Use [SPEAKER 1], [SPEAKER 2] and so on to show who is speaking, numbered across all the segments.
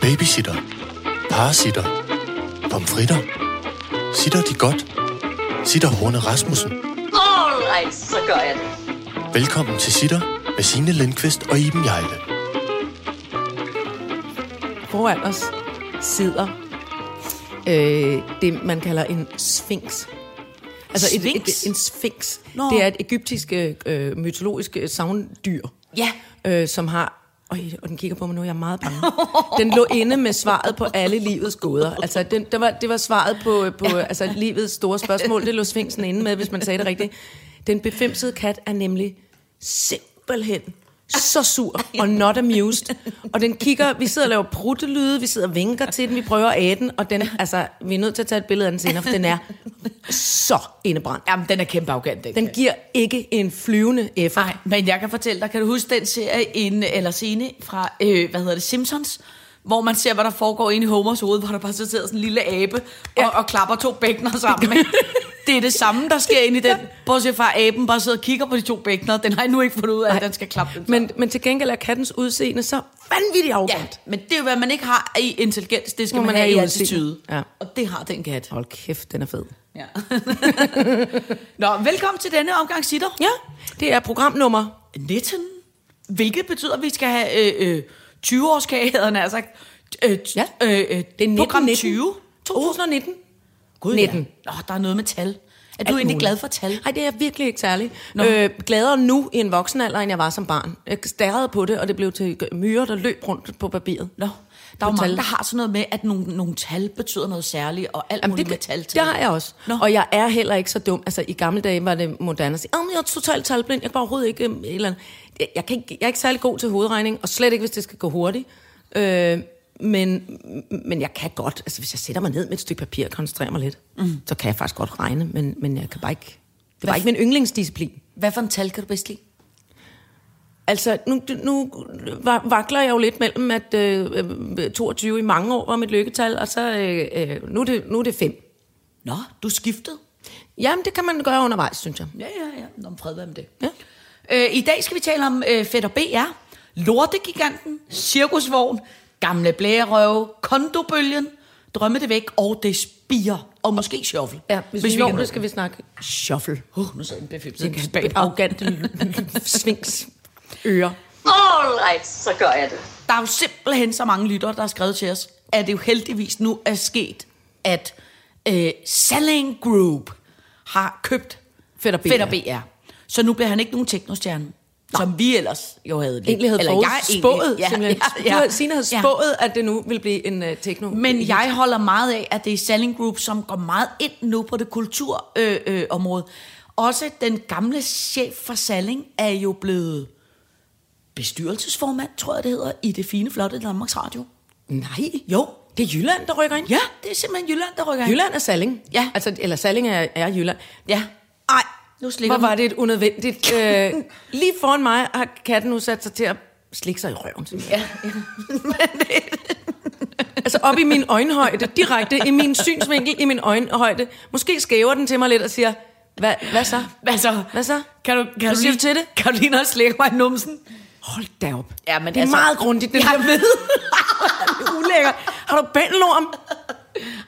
[SPEAKER 1] Babysitter. Parasitter. Pomfritter. Sitter de godt? Sitter Horne Rasmussen.
[SPEAKER 2] Alright, så gør jeg det.
[SPEAKER 1] Velkommen til Sitter med Signe Lindqvist og Iben Jejle.
[SPEAKER 3] Foran os sidder øh, det, man kalder en sfinks. Altså Et,
[SPEAKER 4] Sfinks?
[SPEAKER 3] et, en sfinks.
[SPEAKER 4] Nå.
[SPEAKER 3] Det er et egyptisk øh, øh, mytologisk øh, savndyr,
[SPEAKER 4] Ja.
[SPEAKER 3] øh, som har... Øj, og den kigger på mig nu, jeg er meget bange. Den lå inde med svaret på alle livets gåder. Altså, den, der var, det var svaret på, på altså, livets store spørgsmål. Det lå sfinksen inde med, hvis man sagde det rigtigt. Den befimsede kat er nemlig simpelthen så sur og not amused. Og den kigger, vi sidder og laver pruttelyde, vi sidder og vinker til den, vi prøver at æde den, og den, altså, vi er nødt til at tage et billede af den senere, for den er så indebrændt.
[SPEAKER 4] Jamen, den er kæmpe arrogant, ikke?
[SPEAKER 3] Den giver ikke en flyvende F.
[SPEAKER 4] Nej, men jeg kan fortælle dig, kan du huske den serie en, eller scene fra, øh, hvad hedder det, Simpsons? Hvor man ser, hvad der foregår inde i Homers hoved, hvor der bare så sidder sådan en lille abe og, ja. og klapper to bækkener sammen. ikke? Det er det samme, der sker inde i den. Bortset fra, at aben bare sidder og kigger på de to bækkener. Den har endnu ikke fundet ud af, at den skal klappe dem
[SPEAKER 3] Men, men til gengæld er kattens udseende så vanvittigt
[SPEAKER 4] sammen. Ja,
[SPEAKER 3] arrogant.
[SPEAKER 4] men det er jo, hvad man ikke har i intelligens. Det skal
[SPEAKER 3] Må
[SPEAKER 4] man,
[SPEAKER 3] man
[SPEAKER 4] have
[SPEAKER 3] have
[SPEAKER 4] i
[SPEAKER 3] i udseende.
[SPEAKER 4] attitude.
[SPEAKER 3] Ja.
[SPEAKER 4] Og det har den kat.
[SPEAKER 3] Hold kæft, den er fed.
[SPEAKER 4] Ja. Nå, velkommen til denne omgang, Sitter.
[SPEAKER 3] Ja, det er programnummer.
[SPEAKER 4] 19. Hvilket betyder, at vi skal have øh, øh, 20-årskage, havde han sagt. Øh, t-
[SPEAKER 3] Ja.
[SPEAKER 4] øh, øh,
[SPEAKER 3] Det er 19,
[SPEAKER 4] program
[SPEAKER 3] 19.
[SPEAKER 4] 20.
[SPEAKER 3] 2019.
[SPEAKER 4] Gud,
[SPEAKER 3] 19.
[SPEAKER 4] Ja. Nå, der er noget med tal. Er
[SPEAKER 3] Alt
[SPEAKER 4] du egentlig
[SPEAKER 3] muligt.
[SPEAKER 4] glad for tal?
[SPEAKER 3] Nej, det er jeg virkelig ikke særlig. Øh, gladere nu i en voksen alder, end jeg var som barn. Jeg stærrede på det, og det blev til myrer, der løb rundt på papiret.
[SPEAKER 4] Nå, der er
[SPEAKER 3] På
[SPEAKER 4] jo mange,
[SPEAKER 3] tal.
[SPEAKER 4] der har sådan noget med, at nogle, nogle tal betyder noget særligt, og alt
[SPEAKER 3] Jamen,
[SPEAKER 4] muligt
[SPEAKER 3] det,
[SPEAKER 4] med tal.
[SPEAKER 3] det har jeg også.
[SPEAKER 4] Nå.
[SPEAKER 3] Nå. Og jeg er heller ikke så dum. Altså, i gamle dage var det moderne at sige, "Åh, men jeg er totalt talblind, jeg kan overhovedet ikke... øhm, Et eller andet. Jeg, jeg, kan ikke, jeg er ikke særlig god til hovedregning, og slet ikke, hvis det skal gå hurtigt. Øh, men, men jeg kan godt, altså hvis jeg sætter mig ned med et stykke papir og koncentrerer mig lidt, mm. så kan jeg faktisk godt regne, men, men jeg kan bare ikke, det var
[SPEAKER 4] Hvad
[SPEAKER 3] ikke min yndlingsdisciplin.
[SPEAKER 4] Hvad for en tal kan du bedst lide?
[SPEAKER 3] Altså, nu, nu va- vakler jeg jo lidt mellem, at øh, øh, 22 i mange år var mit lykketal, og så øh, øh, nu, er det, nu er det 5.
[SPEAKER 4] Nå, du skiftede.
[SPEAKER 3] Jamen, det kan man gøre undervejs, synes jeg.
[SPEAKER 4] Ja, ja, ja. Nå, men fred være med det.
[SPEAKER 3] Ja.
[SPEAKER 4] Øh, I dag skal vi tale om øh, Fætter BR, Lortegiganten, Cirkusvogn, Gamle Blærerøve, Kondobølgen, Drømme det væk og det spiger. Og måske shuffle.
[SPEAKER 3] Ja, hvis, hvis vi når
[SPEAKER 4] kan nå
[SPEAKER 3] det, skal vi snakke shuffle.
[SPEAKER 4] Uh, nu sad en befipset
[SPEAKER 3] Den
[SPEAKER 4] kat bag mig.
[SPEAKER 3] arrogante svings ører.
[SPEAKER 2] Alright, så gør jeg det.
[SPEAKER 4] Der er jo simpelthen så mange lyttere, der har skrevet til os, at det jo heldigvis nu er sket, at øh, Selling Group har købt
[SPEAKER 3] Fætter BR.
[SPEAKER 4] Fætter BR. Så nu bliver han ikke nogen teknostjerne, som vi ellers jo havde lidt.
[SPEAKER 3] Egentlig havde
[SPEAKER 4] Eller
[SPEAKER 3] Poul
[SPEAKER 4] jeg egentlig-
[SPEAKER 3] spået, ja, simpelthen. Ja, ja, Sina
[SPEAKER 4] Signe
[SPEAKER 3] havde spået, at det nu ville blive en uh, techno.
[SPEAKER 4] Men jeg holder meget af, at det er Selling Group, som går meget ind nu på det kulturområde. Øh, øh, område. Også den gamle chef for Salling er jo blevet bestyrelsesformand, tror jeg det hedder, i det fine, flotte Danmarks Radio.
[SPEAKER 3] Nej,
[SPEAKER 4] Jo.
[SPEAKER 3] det er Jylland, der rykker ind.
[SPEAKER 4] Ja, det er simpelthen Jylland, der rykker ind.
[SPEAKER 3] Jylland er Salling.
[SPEAKER 4] Ja.
[SPEAKER 3] Altså, eller Salling er, er Jylland.
[SPEAKER 4] Ja. Ej, nu slikker
[SPEAKER 3] Hvor var det et unødvendigt... Øh, lige foran mig har katten nu sat sig til at slikke sig i røven. simpelthen.
[SPEAKER 4] Ja.
[SPEAKER 3] Altså op i min øjenhøjde, direkte i min synsvinkel, i min øjenhøjde. Måske skæver den til mig lidt og siger, hvad, hvad så?
[SPEAKER 4] Hvad så?
[SPEAKER 3] Hvad så?
[SPEAKER 4] Altså, Kan du, kan
[SPEAKER 3] Hvad
[SPEAKER 4] du
[SPEAKER 3] siger du
[SPEAKER 4] lige,
[SPEAKER 3] til det?
[SPEAKER 4] Kan du lige noget slikke mig i numsen?
[SPEAKER 3] Hold da op.
[SPEAKER 4] Ja, men
[SPEAKER 3] det er
[SPEAKER 4] altså-
[SPEAKER 3] meget grundigt, det
[SPEAKER 4] Jeg
[SPEAKER 3] der ved. Ulækker. Har du bandelorm?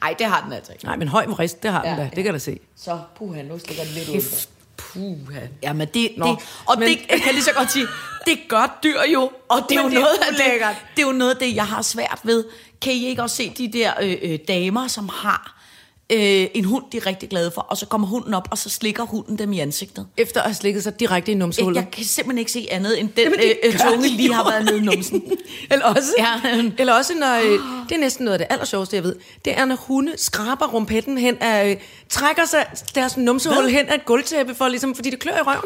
[SPEAKER 4] Nej, det har den altså ikke.
[SPEAKER 3] Nej, men høj vrist, det har ja,
[SPEAKER 4] Ja,
[SPEAKER 3] den da.
[SPEAKER 4] ja.
[SPEAKER 3] Det kan jeg da se.
[SPEAKER 4] Så puha, nu slikker den lidt ud.
[SPEAKER 3] Kæft. Puha.
[SPEAKER 4] Ja, men det,
[SPEAKER 3] Nå,
[SPEAKER 4] det og men,
[SPEAKER 3] men-
[SPEAKER 4] det, jeg kan lige så godt sige, det gør dyr jo, og det er jo
[SPEAKER 3] Men det er
[SPEAKER 4] noget af det,
[SPEAKER 3] ulækkert.
[SPEAKER 4] det er jo noget af det, jeg har svært ved. Kan I ikke også se de der øh, øh, damer, som har øh, en hund, de er rigtig glade for, og så kommer hunden op, og så slikker hunden dem i ansigtet?
[SPEAKER 3] Efter at have slikket sig direkte i
[SPEAKER 4] Jeg,
[SPEAKER 3] numsehullet.
[SPEAKER 4] jeg kan simpelthen ikke se andet, end den
[SPEAKER 3] Jamen,
[SPEAKER 4] øh,
[SPEAKER 3] det
[SPEAKER 4] øh,
[SPEAKER 3] gør de
[SPEAKER 4] tunge lige
[SPEAKER 3] jo.
[SPEAKER 4] har været nede i numsen.
[SPEAKER 3] Eller også,
[SPEAKER 4] Ja.
[SPEAKER 3] ja. eller også når, øh, det er næsten noget af det allersjoveste, jeg ved, det er, når hunde skraber rumpetten hen af, øh, trækker sig deres numsehul
[SPEAKER 4] Hvad?
[SPEAKER 3] hen af et gulvtæppe, for, ligesom, fordi det klør i røven.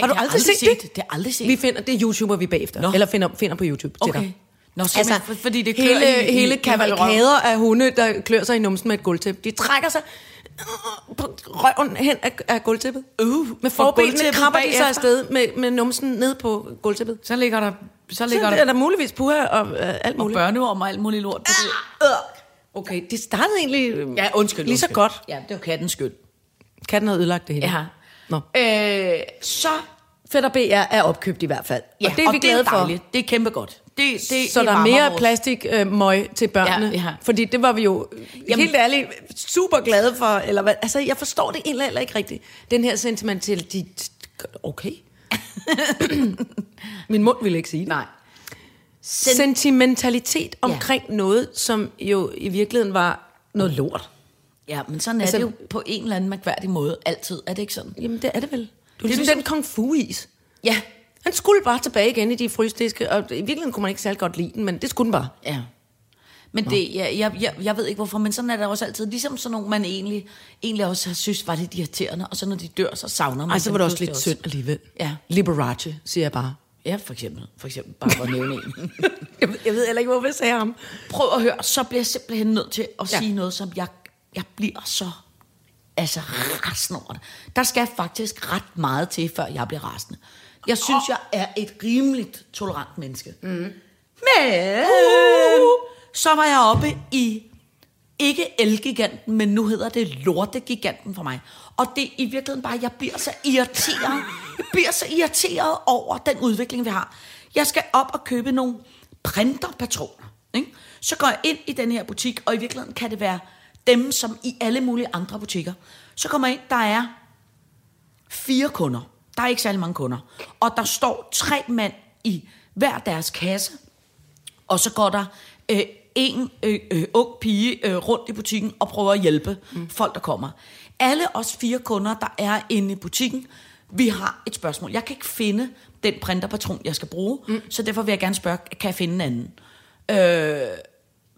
[SPEAKER 3] har du
[SPEAKER 4] det har
[SPEAKER 3] aldrig
[SPEAKER 4] jeg
[SPEAKER 3] set, det?
[SPEAKER 4] Det har jeg aldrig set.
[SPEAKER 3] Vi finder, det er YouTuber, vi er bagefter.
[SPEAKER 4] Nå.
[SPEAKER 3] Eller finder, finder på YouTube til
[SPEAKER 4] Okay.
[SPEAKER 3] dig.
[SPEAKER 4] Nå, simpelthen, for- fordi det klør
[SPEAKER 3] Altså, hele,
[SPEAKER 4] i- i-
[SPEAKER 3] hele
[SPEAKER 4] i- i
[SPEAKER 3] kavalkader af hunde, der klør sig i numsen med et gulvtæppe. De trækker sig øh, på røven hen af, af gulvtæppet.
[SPEAKER 4] Uh,
[SPEAKER 3] med
[SPEAKER 4] og
[SPEAKER 3] forbenene
[SPEAKER 4] gulvtæppet
[SPEAKER 3] krabber de
[SPEAKER 4] bagefter.
[SPEAKER 3] sig afsted med, med numsen ned på gulvtæppet.
[SPEAKER 4] Så ligger der, så
[SPEAKER 3] Så
[SPEAKER 4] ligger
[SPEAKER 3] er
[SPEAKER 4] der
[SPEAKER 3] der muligvis puha og øh, alt muligt.
[SPEAKER 4] børneorm og alt muligt lort på det.
[SPEAKER 3] Okay, det startede egentlig øh,
[SPEAKER 4] Mm. Ja, undskyld.
[SPEAKER 3] lige så
[SPEAKER 4] undskyld.
[SPEAKER 3] godt.
[SPEAKER 4] Ja, det var kattens skyld.
[SPEAKER 3] Katten havde ødelagt det hele.
[SPEAKER 4] Ja.
[SPEAKER 3] Nå.
[SPEAKER 4] Øh, så
[SPEAKER 3] Fætter BR er opkøbt i hvert fald.
[SPEAKER 4] Ja,
[SPEAKER 3] og det er vi glade
[SPEAKER 4] det er
[SPEAKER 3] for.
[SPEAKER 4] dejligt. Det er kæmpe godt. det, det,
[SPEAKER 3] så
[SPEAKER 4] det
[SPEAKER 3] der er
[SPEAKER 4] varmer
[SPEAKER 3] mere
[SPEAKER 4] vores-
[SPEAKER 3] plastikmøg øh, møg til børnene.
[SPEAKER 4] Ja, ja.
[SPEAKER 3] Fordi det var vi jo Jamen,
[SPEAKER 4] Jamen-
[SPEAKER 3] helt ærligt super glade for. Eller hvad? Altså, jeg forstår det egentlig heller ikke rigtigt. Den her sentimentalitet, okay. Min mund ville ikke sige det.
[SPEAKER 4] Nej.
[SPEAKER 3] Sen- sentimentalitet
[SPEAKER 4] Ja.
[SPEAKER 3] omkring ja. noget, som jo i virkeligheden var noget lort.
[SPEAKER 4] Ja, men sådan er
[SPEAKER 3] Altså-
[SPEAKER 4] altså, det jo på en eller anden mærkværdig måde altid. Er det ikke sådan?
[SPEAKER 3] Jamen, det er det vel. Det er
[SPEAKER 4] Det er
[SPEAKER 3] ligesom
[SPEAKER 4] ligesom-
[SPEAKER 3] den kung fu-is.
[SPEAKER 4] Ja.
[SPEAKER 3] Han skulle bare tilbage igen i de frysdiske, og i virkeligheden kunne man ikke særlig godt lide den, men det skulle den bare.
[SPEAKER 4] Ja. Men det, ja, jeg, jeg, jeg ved ikke hvorfor, men sådan er det også altid. Ligesom sådan nogle, man egentlig, egentlig også har synes, var lidt irriterende, og så når de dør, så savner man
[SPEAKER 3] Ej, så
[SPEAKER 4] dem
[SPEAKER 3] var det også
[SPEAKER 4] pludselig
[SPEAKER 3] lidt synd alligevel.
[SPEAKER 4] Ja.
[SPEAKER 3] Liberace, siger jeg bare.
[SPEAKER 4] Ja, for eksempel. For eksempel, bare for at nævne en.
[SPEAKER 3] Jeg ved, jeg ved heller ikke, hvorfor jeg sagde ham.
[SPEAKER 4] Prøv at høre, så bliver jeg simpelthen nødt til at
[SPEAKER 3] Ja.
[SPEAKER 4] ja. sige noget, som jeg, jeg bliver så altså rasende over det. Der skal faktisk ret meget til, før jeg bliver rasende. Jeg synes, jeg er et rimeligt tolerant menneske. Mm. Men så var jeg oppe i ikke elgiganten, men nu hedder det lortegiganten for mig. Og det er i virkeligheden bare, jeg bliver så irriteret. Jeg bliver så irriteret over den udvikling, vi har. Jeg skal op og købe nogle printerpatroner. Ikke? Så går jeg ind i den her butik, og i virkeligheden kan det være dem, som i alle mulige andre butikker. Så kommer jeg ind, der er fire kunder. Der er ikke særlig mange kunder. Og der står tre mænd i hver deres kasse. Og så går der øh, en øh, øh, ung pige øh, rundt i butikken og prøver at hjælpe mm. folk, der kommer. Alle os fire kunder, der er inde i butikken, vi har et spørgsmål. Jeg kan ikke finde den printerpatron, jeg skal bruge, mm. så derfor vil jeg gerne spørge, kan jeg finde en anden?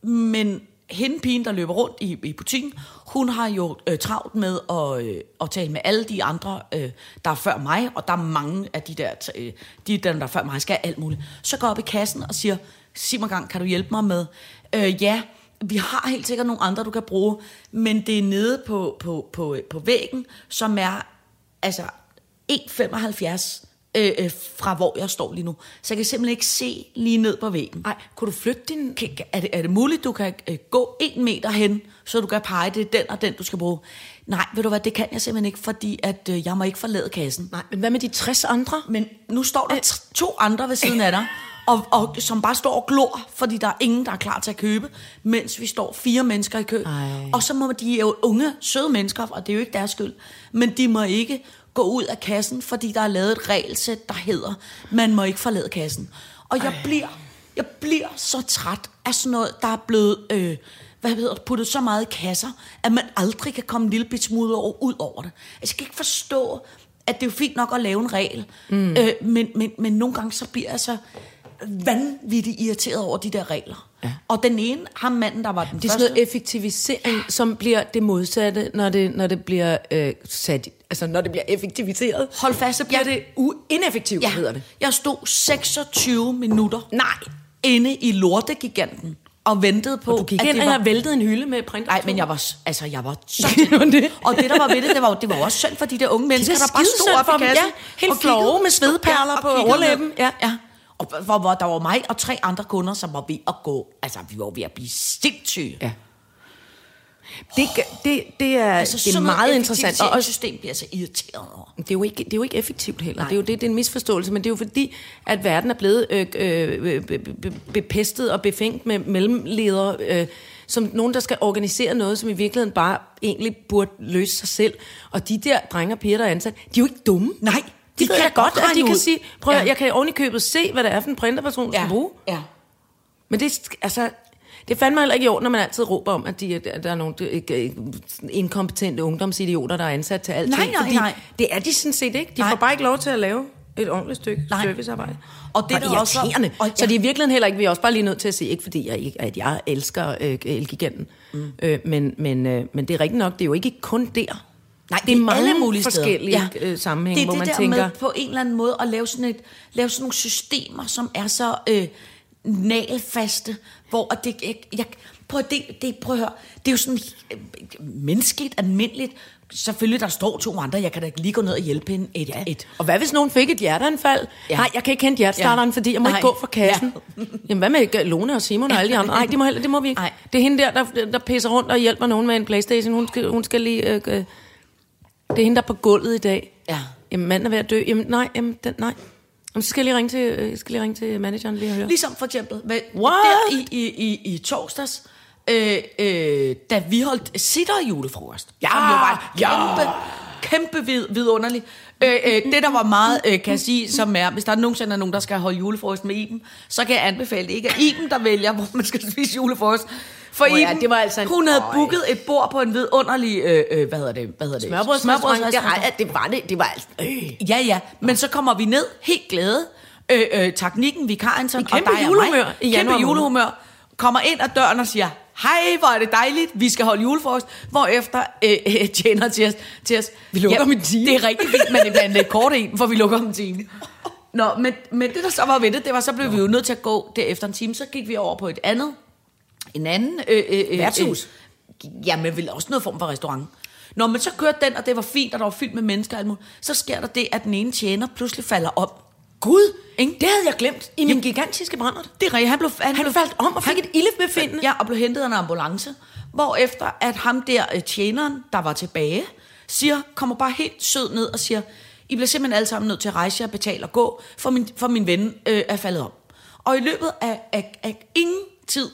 [SPEAKER 4] Men hende pigen, der løber rundt i, i butikken, hun har jo øh, travlt med at, øh, at tale med alle de andre, øh, der er før mig, og der er mange af de der, t- øh, de der, der er før mig, skal alt muligt. Så går jeg op i kassen og siger, sig mig gang, kan du hjælpe mig med? Øh, ja, vi har helt sikkert nogle andre, du kan bruge, men det er nede på, på, på, øh, på væggen, som er altså 1,75 øh, øh, fra hvor jeg står lige nu. Så jeg kan simpelthen ikke se lige ned på væggen.
[SPEAKER 3] Nej, kunne du flytte din...
[SPEAKER 4] Kan- kan- er det, er det muligt, du kan øh, gå en meter hen, så du kan pege, det er den og den, du skal bruge? Nej, ved du hvad, det kan jeg simpelthen ikke, fordi at, øh, jeg må ikke forlade kassen.
[SPEAKER 3] Nej, men hvad med de 60 andre?
[SPEAKER 4] Men nu står der t- to andre ved siden af dig, og, og, som bare står og glor, fordi der er ingen, der er klar til at købe, mens vi står fire mennesker i kø.
[SPEAKER 3] Ej.
[SPEAKER 4] Og så må de jo unge, søde mennesker, og det er jo ikke deres skyld, men de må ikke gå ud af kassen, fordi der er lavet et regelsæt, der hedder, man må ikke forlade kassen. Og jeg bliver, jeg bliver så træt af sådan noget, der er blevet øh, hvad hedder, det, puttet så meget i kasser, at man aldrig kan komme en lille bit smule over, ud over det. Altså, jeg kan ikke forstå, at det er jo fint nok at lave en regel, mm. øh, men, men, men nogle gange så bliver jeg så vanvittigt irriteret over de der regler. Ja. Og den ene, ham manden, der var den
[SPEAKER 3] Det er
[SPEAKER 4] første...
[SPEAKER 3] sådan noget effektivisering, som bliver det modsatte, når det, når det bliver øh, sat... i- Altså, når det bliver effektiviseret.
[SPEAKER 4] Hold fast,
[SPEAKER 3] så bliver ja. det uineffektivt, øh, ja. hedder det.
[SPEAKER 4] Jeg stod 26 minutter Nej. inde i lortegiganten og ventede på,
[SPEAKER 3] Og du gik
[SPEAKER 4] at
[SPEAKER 3] ind,
[SPEAKER 4] det
[SPEAKER 3] og
[SPEAKER 4] var...
[SPEAKER 3] jeg væltede en hylde med printer.
[SPEAKER 4] Nej, men jeg var, s- altså, jeg var så
[SPEAKER 3] Det var det.
[SPEAKER 4] Og det, der var ved det, det var, jo- det var jo også synd for de der unge mennesker, der bare stod
[SPEAKER 3] skidesynd
[SPEAKER 4] op
[SPEAKER 3] for
[SPEAKER 4] i
[SPEAKER 3] dem.
[SPEAKER 4] kassen.
[SPEAKER 3] Ja, helt
[SPEAKER 4] og kiggede.
[SPEAKER 3] flove med svedperler
[SPEAKER 4] Ja, og
[SPEAKER 3] på
[SPEAKER 4] kiggede
[SPEAKER 3] overlæben.
[SPEAKER 4] ned.
[SPEAKER 3] Ja.
[SPEAKER 4] ja. Og hvor, hvor der var mig og tre andre kunder, som var ved at gå... Altså, vi var ved at blive sindssyge.
[SPEAKER 3] Ja. Det, det, det er, altså, det er
[SPEAKER 4] sådan noget
[SPEAKER 3] meget interessant. Og
[SPEAKER 4] effektiviserings-
[SPEAKER 3] også,
[SPEAKER 4] system bliver jeg så irriteret over.
[SPEAKER 3] det, er jo ikke, det er jo ikke effektivt heller. Det er jo det, det er en misforståelse, men det er jo fordi, at verden er blevet øh, øh, be- be- bepestet og befængt med mellemledere, øh, som nogen, der skal organisere noget, som i virkeligheden bare egentlig burde løse sig selv. Og de der drenge og piger, der er ansat, de er jo ikke dumme.
[SPEAKER 4] Nej,
[SPEAKER 3] De, de kan da godt, at de
[SPEAKER 4] regne
[SPEAKER 3] kan
[SPEAKER 4] ud.
[SPEAKER 3] sige, prøv ja.
[SPEAKER 4] Ja.
[SPEAKER 3] jeg kan oven i købet se, hvad det er for en printerperson, du ja. skal bruge.
[SPEAKER 4] Ja.
[SPEAKER 3] Men det, sk- altså, det fandt mig heller ikke i orden, når man altid råber om, at, de, at der er nogle øh, øh, inkompetente ungdomsidioter, der er ansat til alt.
[SPEAKER 4] Nej, nej, nej.
[SPEAKER 3] Det er de sådan set ikke. De nej.
[SPEAKER 4] Nej.
[SPEAKER 3] får bare ikke lov til at lave et ordentligt stykke nej.
[SPEAKER 4] Nej.
[SPEAKER 3] servicearbejde.
[SPEAKER 4] Og det er
[SPEAKER 3] Hvor
[SPEAKER 4] da også-
[SPEAKER 3] irriterende.
[SPEAKER 4] og-
[SPEAKER 3] Og,
[SPEAKER 4] ja.
[SPEAKER 3] ja. Så det er i virkeligheden heller ikke, vi er også bare lige nødt til at sige, ikke fordi jeg, ikke, at jeg elsker øh, Elgiganten, mm. øh, men, men, øh, men det er rigtigt nok, det er jo ikke kun der.
[SPEAKER 4] Nej,
[SPEAKER 3] det er
[SPEAKER 4] i
[SPEAKER 3] mange
[SPEAKER 4] alle mulige steder.
[SPEAKER 3] forskellige øh, sammenhænge,
[SPEAKER 4] det er
[SPEAKER 3] hvor
[SPEAKER 4] det
[SPEAKER 3] man
[SPEAKER 4] der
[SPEAKER 3] tænker...
[SPEAKER 4] med på en eller anden måde at lave sådan, et, lave sådan nogle systemer, som er så øh, nagelfaste, hvor at det, jeg, jeg, prøv, at- det, det, prøv at høre, det er jo sådan øh, menneskeligt, almindeligt. Selvfølgelig, der står to andre, jeg kan da ikke lige gå ned og hjælpe hende et, ja. et
[SPEAKER 3] Og hvad hvis nogen fik et hjerteanfald? Ja.
[SPEAKER 4] Ja.
[SPEAKER 3] Nej, jeg kan ikke hente hjertestarteren, ja.
[SPEAKER 4] Ja.
[SPEAKER 3] fordi jeg må Nej.
[SPEAKER 4] Nej.
[SPEAKER 3] ikke gå fra kassen. Ja. Jamen, hvad med Lone og Simon og alle de andre? Nej, de må heller, det må vi ikke. Nej.
[SPEAKER 4] Nej.
[SPEAKER 3] Det er hende der, der, der pisser rundt og hjælper nogen med en Playstation. Hun skal, hun skal lige... Øh, øh, det er hende, der er på gulvet i dag.
[SPEAKER 4] Ja.
[SPEAKER 3] Jamen, manden er ved at dø. Jamen, nej, jamen, den, nej. Jamen, så skal jeg lige ringe til, øh, skal jeg lige ringe til manageren lige og høre.
[SPEAKER 4] Ligesom for eksempel, hvad,
[SPEAKER 3] What?
[SPEAKER 4] der i, i, i, i torsdags, øh, øh, da vi holdt sitter julefrokost.
[SPEAKER 3] Ja,
[SPEAKER 4] som jo var et
[SPEAKER 3] ja.
[SPEAKER 4] kæmpe, kæmpe vid, vidunderligt. Øh, øh, det, der var meget, øh, kan jeg sige, som er, hvis der nogensinde er nogen, der skal holde julefrokost med Iben, så kan jeg anbefale, det ikke er Iben, der vælger, hvor man skal spise julefrokost. For
[SPEAKER 3] Åh
[SPEAKER 4] Iben,
[SPEAKER 3] ja, det var altså en-
[SPEAKER 4] hun havde
[SPEAKER 3] Øj.
[SPEAKER 4] booket et bord på en vidunderlig, øh, øh, hvad hedder det? Hvad hedder det?
[SPEAKER 3] Smørbrødsrestaurant. Det har jeg-
[SPEAKER 4] det var det, det var altså... Ja, ja, men så kommer vi ned, helt glade, øh, øh, teknikken, vikaren, så
[SPEAKER 3] I kæmpe
[SPEAKER 4] og dig og mig.
[SPEAKER 3] julehumør i januar
[SPEAKER 4] Kæmpe
[SPEAKER 3] måned.
[SPEAKER 4] julehumør. Kommer ind ad døren og siger, hej, hvor er det dejligt, vi skal holde julefrokost. Hvorefter øh, øh, tjener til os, til os.
[SPEAKER 3] Vi lukker om en time.
[SPEAKER 4] Det er rigtig fint, men det bliver en lidt kort en, for vi lukker om en time. Nå, men, men det der så var ved det, det var, så blev Nå. vi jo nødt til at gå derefter en time. Så gik vi over på et andet, en anden... Øh, øh, øh,
[SPEAKER 3] Værtshus.
[SPEAKER 4] Øh, ja, men vel også noget form for restaurant. Nå, men så kørte den, og det var fint, og der var fyldt med mennesker og alt muligt. Så sker der det, at den ene tjener pludselig falder om.
[SPEAKER 3] Gud,
[SPEAKER 4] Ikke?
[SPEAKER 3] det havde jeg glemt i min gigantiske brændert.
[SPEAKER 4] Det er rigtigt. Han blev,
[SPEAKER 3] Han faldt om og fik et ildebefindende.
[SPEAKER 4] Ja, og blev hentet af en ambulance. Hvorefter, at ham der øh, tjeneren, der var tilbage, siger, kommer bare helt sød ned og siger, I bliver simpelthen alle sammen nødt til at rejse jer, betale og gå, for min, for min ven øh, er faldet om. Og i løbet af, af, af ingen tid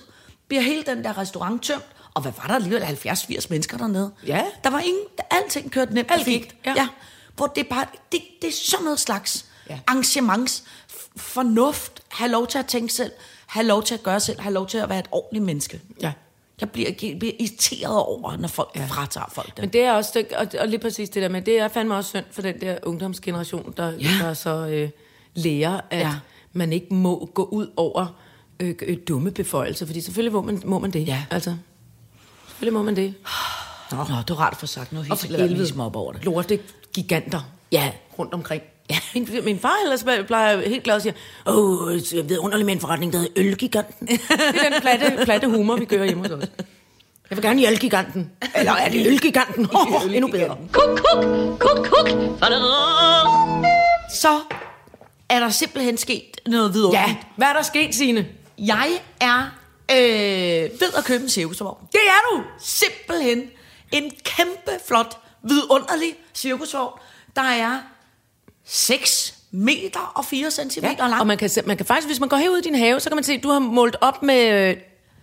[SPEAKER 4] bliver hele den der restaurant tømt, og hvad var der alligevel 70-80 mennesker dernede?
[SPEAKER 3] Ja.
[SPEAKER 4] Der var ingen, der, alting kørte nemt
[SPEAKER 3] Alt
[SPEAKER 4] og fint.
[SPEAKER 3] gik, ja.
[SPEAKER 4] ja. Hvor det er bare, det, det er sådan noget slags
[SPEAKER 3] Ja.
[SPEAKER 4] ja. arrangements f- fornuft, have lov til at tænke selv, have lov til at gøre selv, have lov til at være et ordentligt menneske.
[SPEAKER 3] Ja.
[SPEAKER 4] Jeg bliver, jeg bliver irriteret over, når folk
[SPEAKER 3] Ja.
[SPEAKER 4] ja. fratager folk det.
[SPEAKER 3] Men det er også, det- og, og lige præcis det der med, det er fandme også synd for den der ungdomsgeneration, der, ja.
[SPEAKER 4] Ja.
[SPEAKER 3] der så øh, lærer, at ja.
[SPEAKER 4] Ja.
[SPEAKER 3] man ikke må gå ud over øh, øh, dumme beføjelser, fordi selvfølgelig må man, må man det.
[SPEAKER 4] Ja.
[SPEAKER 3] Altså, selvfølgelig må man det.
[SPEAKER 4] Nå, Nå du har rart for sagt noget
[SPEAKER 3] Og
[SPEAKER 4] helt
[SPEAKER 3] for
[SPEAKER 4] lad være med
[SPEAKER 3] helvede,
[SPEAKER 4] ligesom op over det.
[SPEAKER 3] lorte giganter
[SPEAKER 4] Ja.
[SPEAKER 3] rundt omkring. Ja. Min, min far ellers plejer helt glad at sige, åh, oh, jeg ved underligt med en forretning, der hedder Ølgiganten. det er den platte, platte humor, vi kører hjemme hos os. Jeg vil gerne i Ølgiganten. Eller er det Ølgiganten? Oh, endnu bedre.
[SPEAKER 2] Kuk, kuk, kuk, kuk.
[SPEAKER 4] Så er der simpelthen sket noget vidunderligt.
[SPEAKER 3] Ja, hvad er der sket, Signe?
[SPEAKER 4] Jeg er øh, ved at købe en cirkusvogn.
[SPEAKER 3] Det er du!
[SPEAKER 4] Simpelthen en kæmpe, flot, vidunderlig cirkusvogn, der er 6 meter og 4 centimeter ja, lang.
[SPEAKER 3] Og man kan, se- man kan faktisk, hvis man går herud i din have, så kan man se, at du har målt op med, øh, det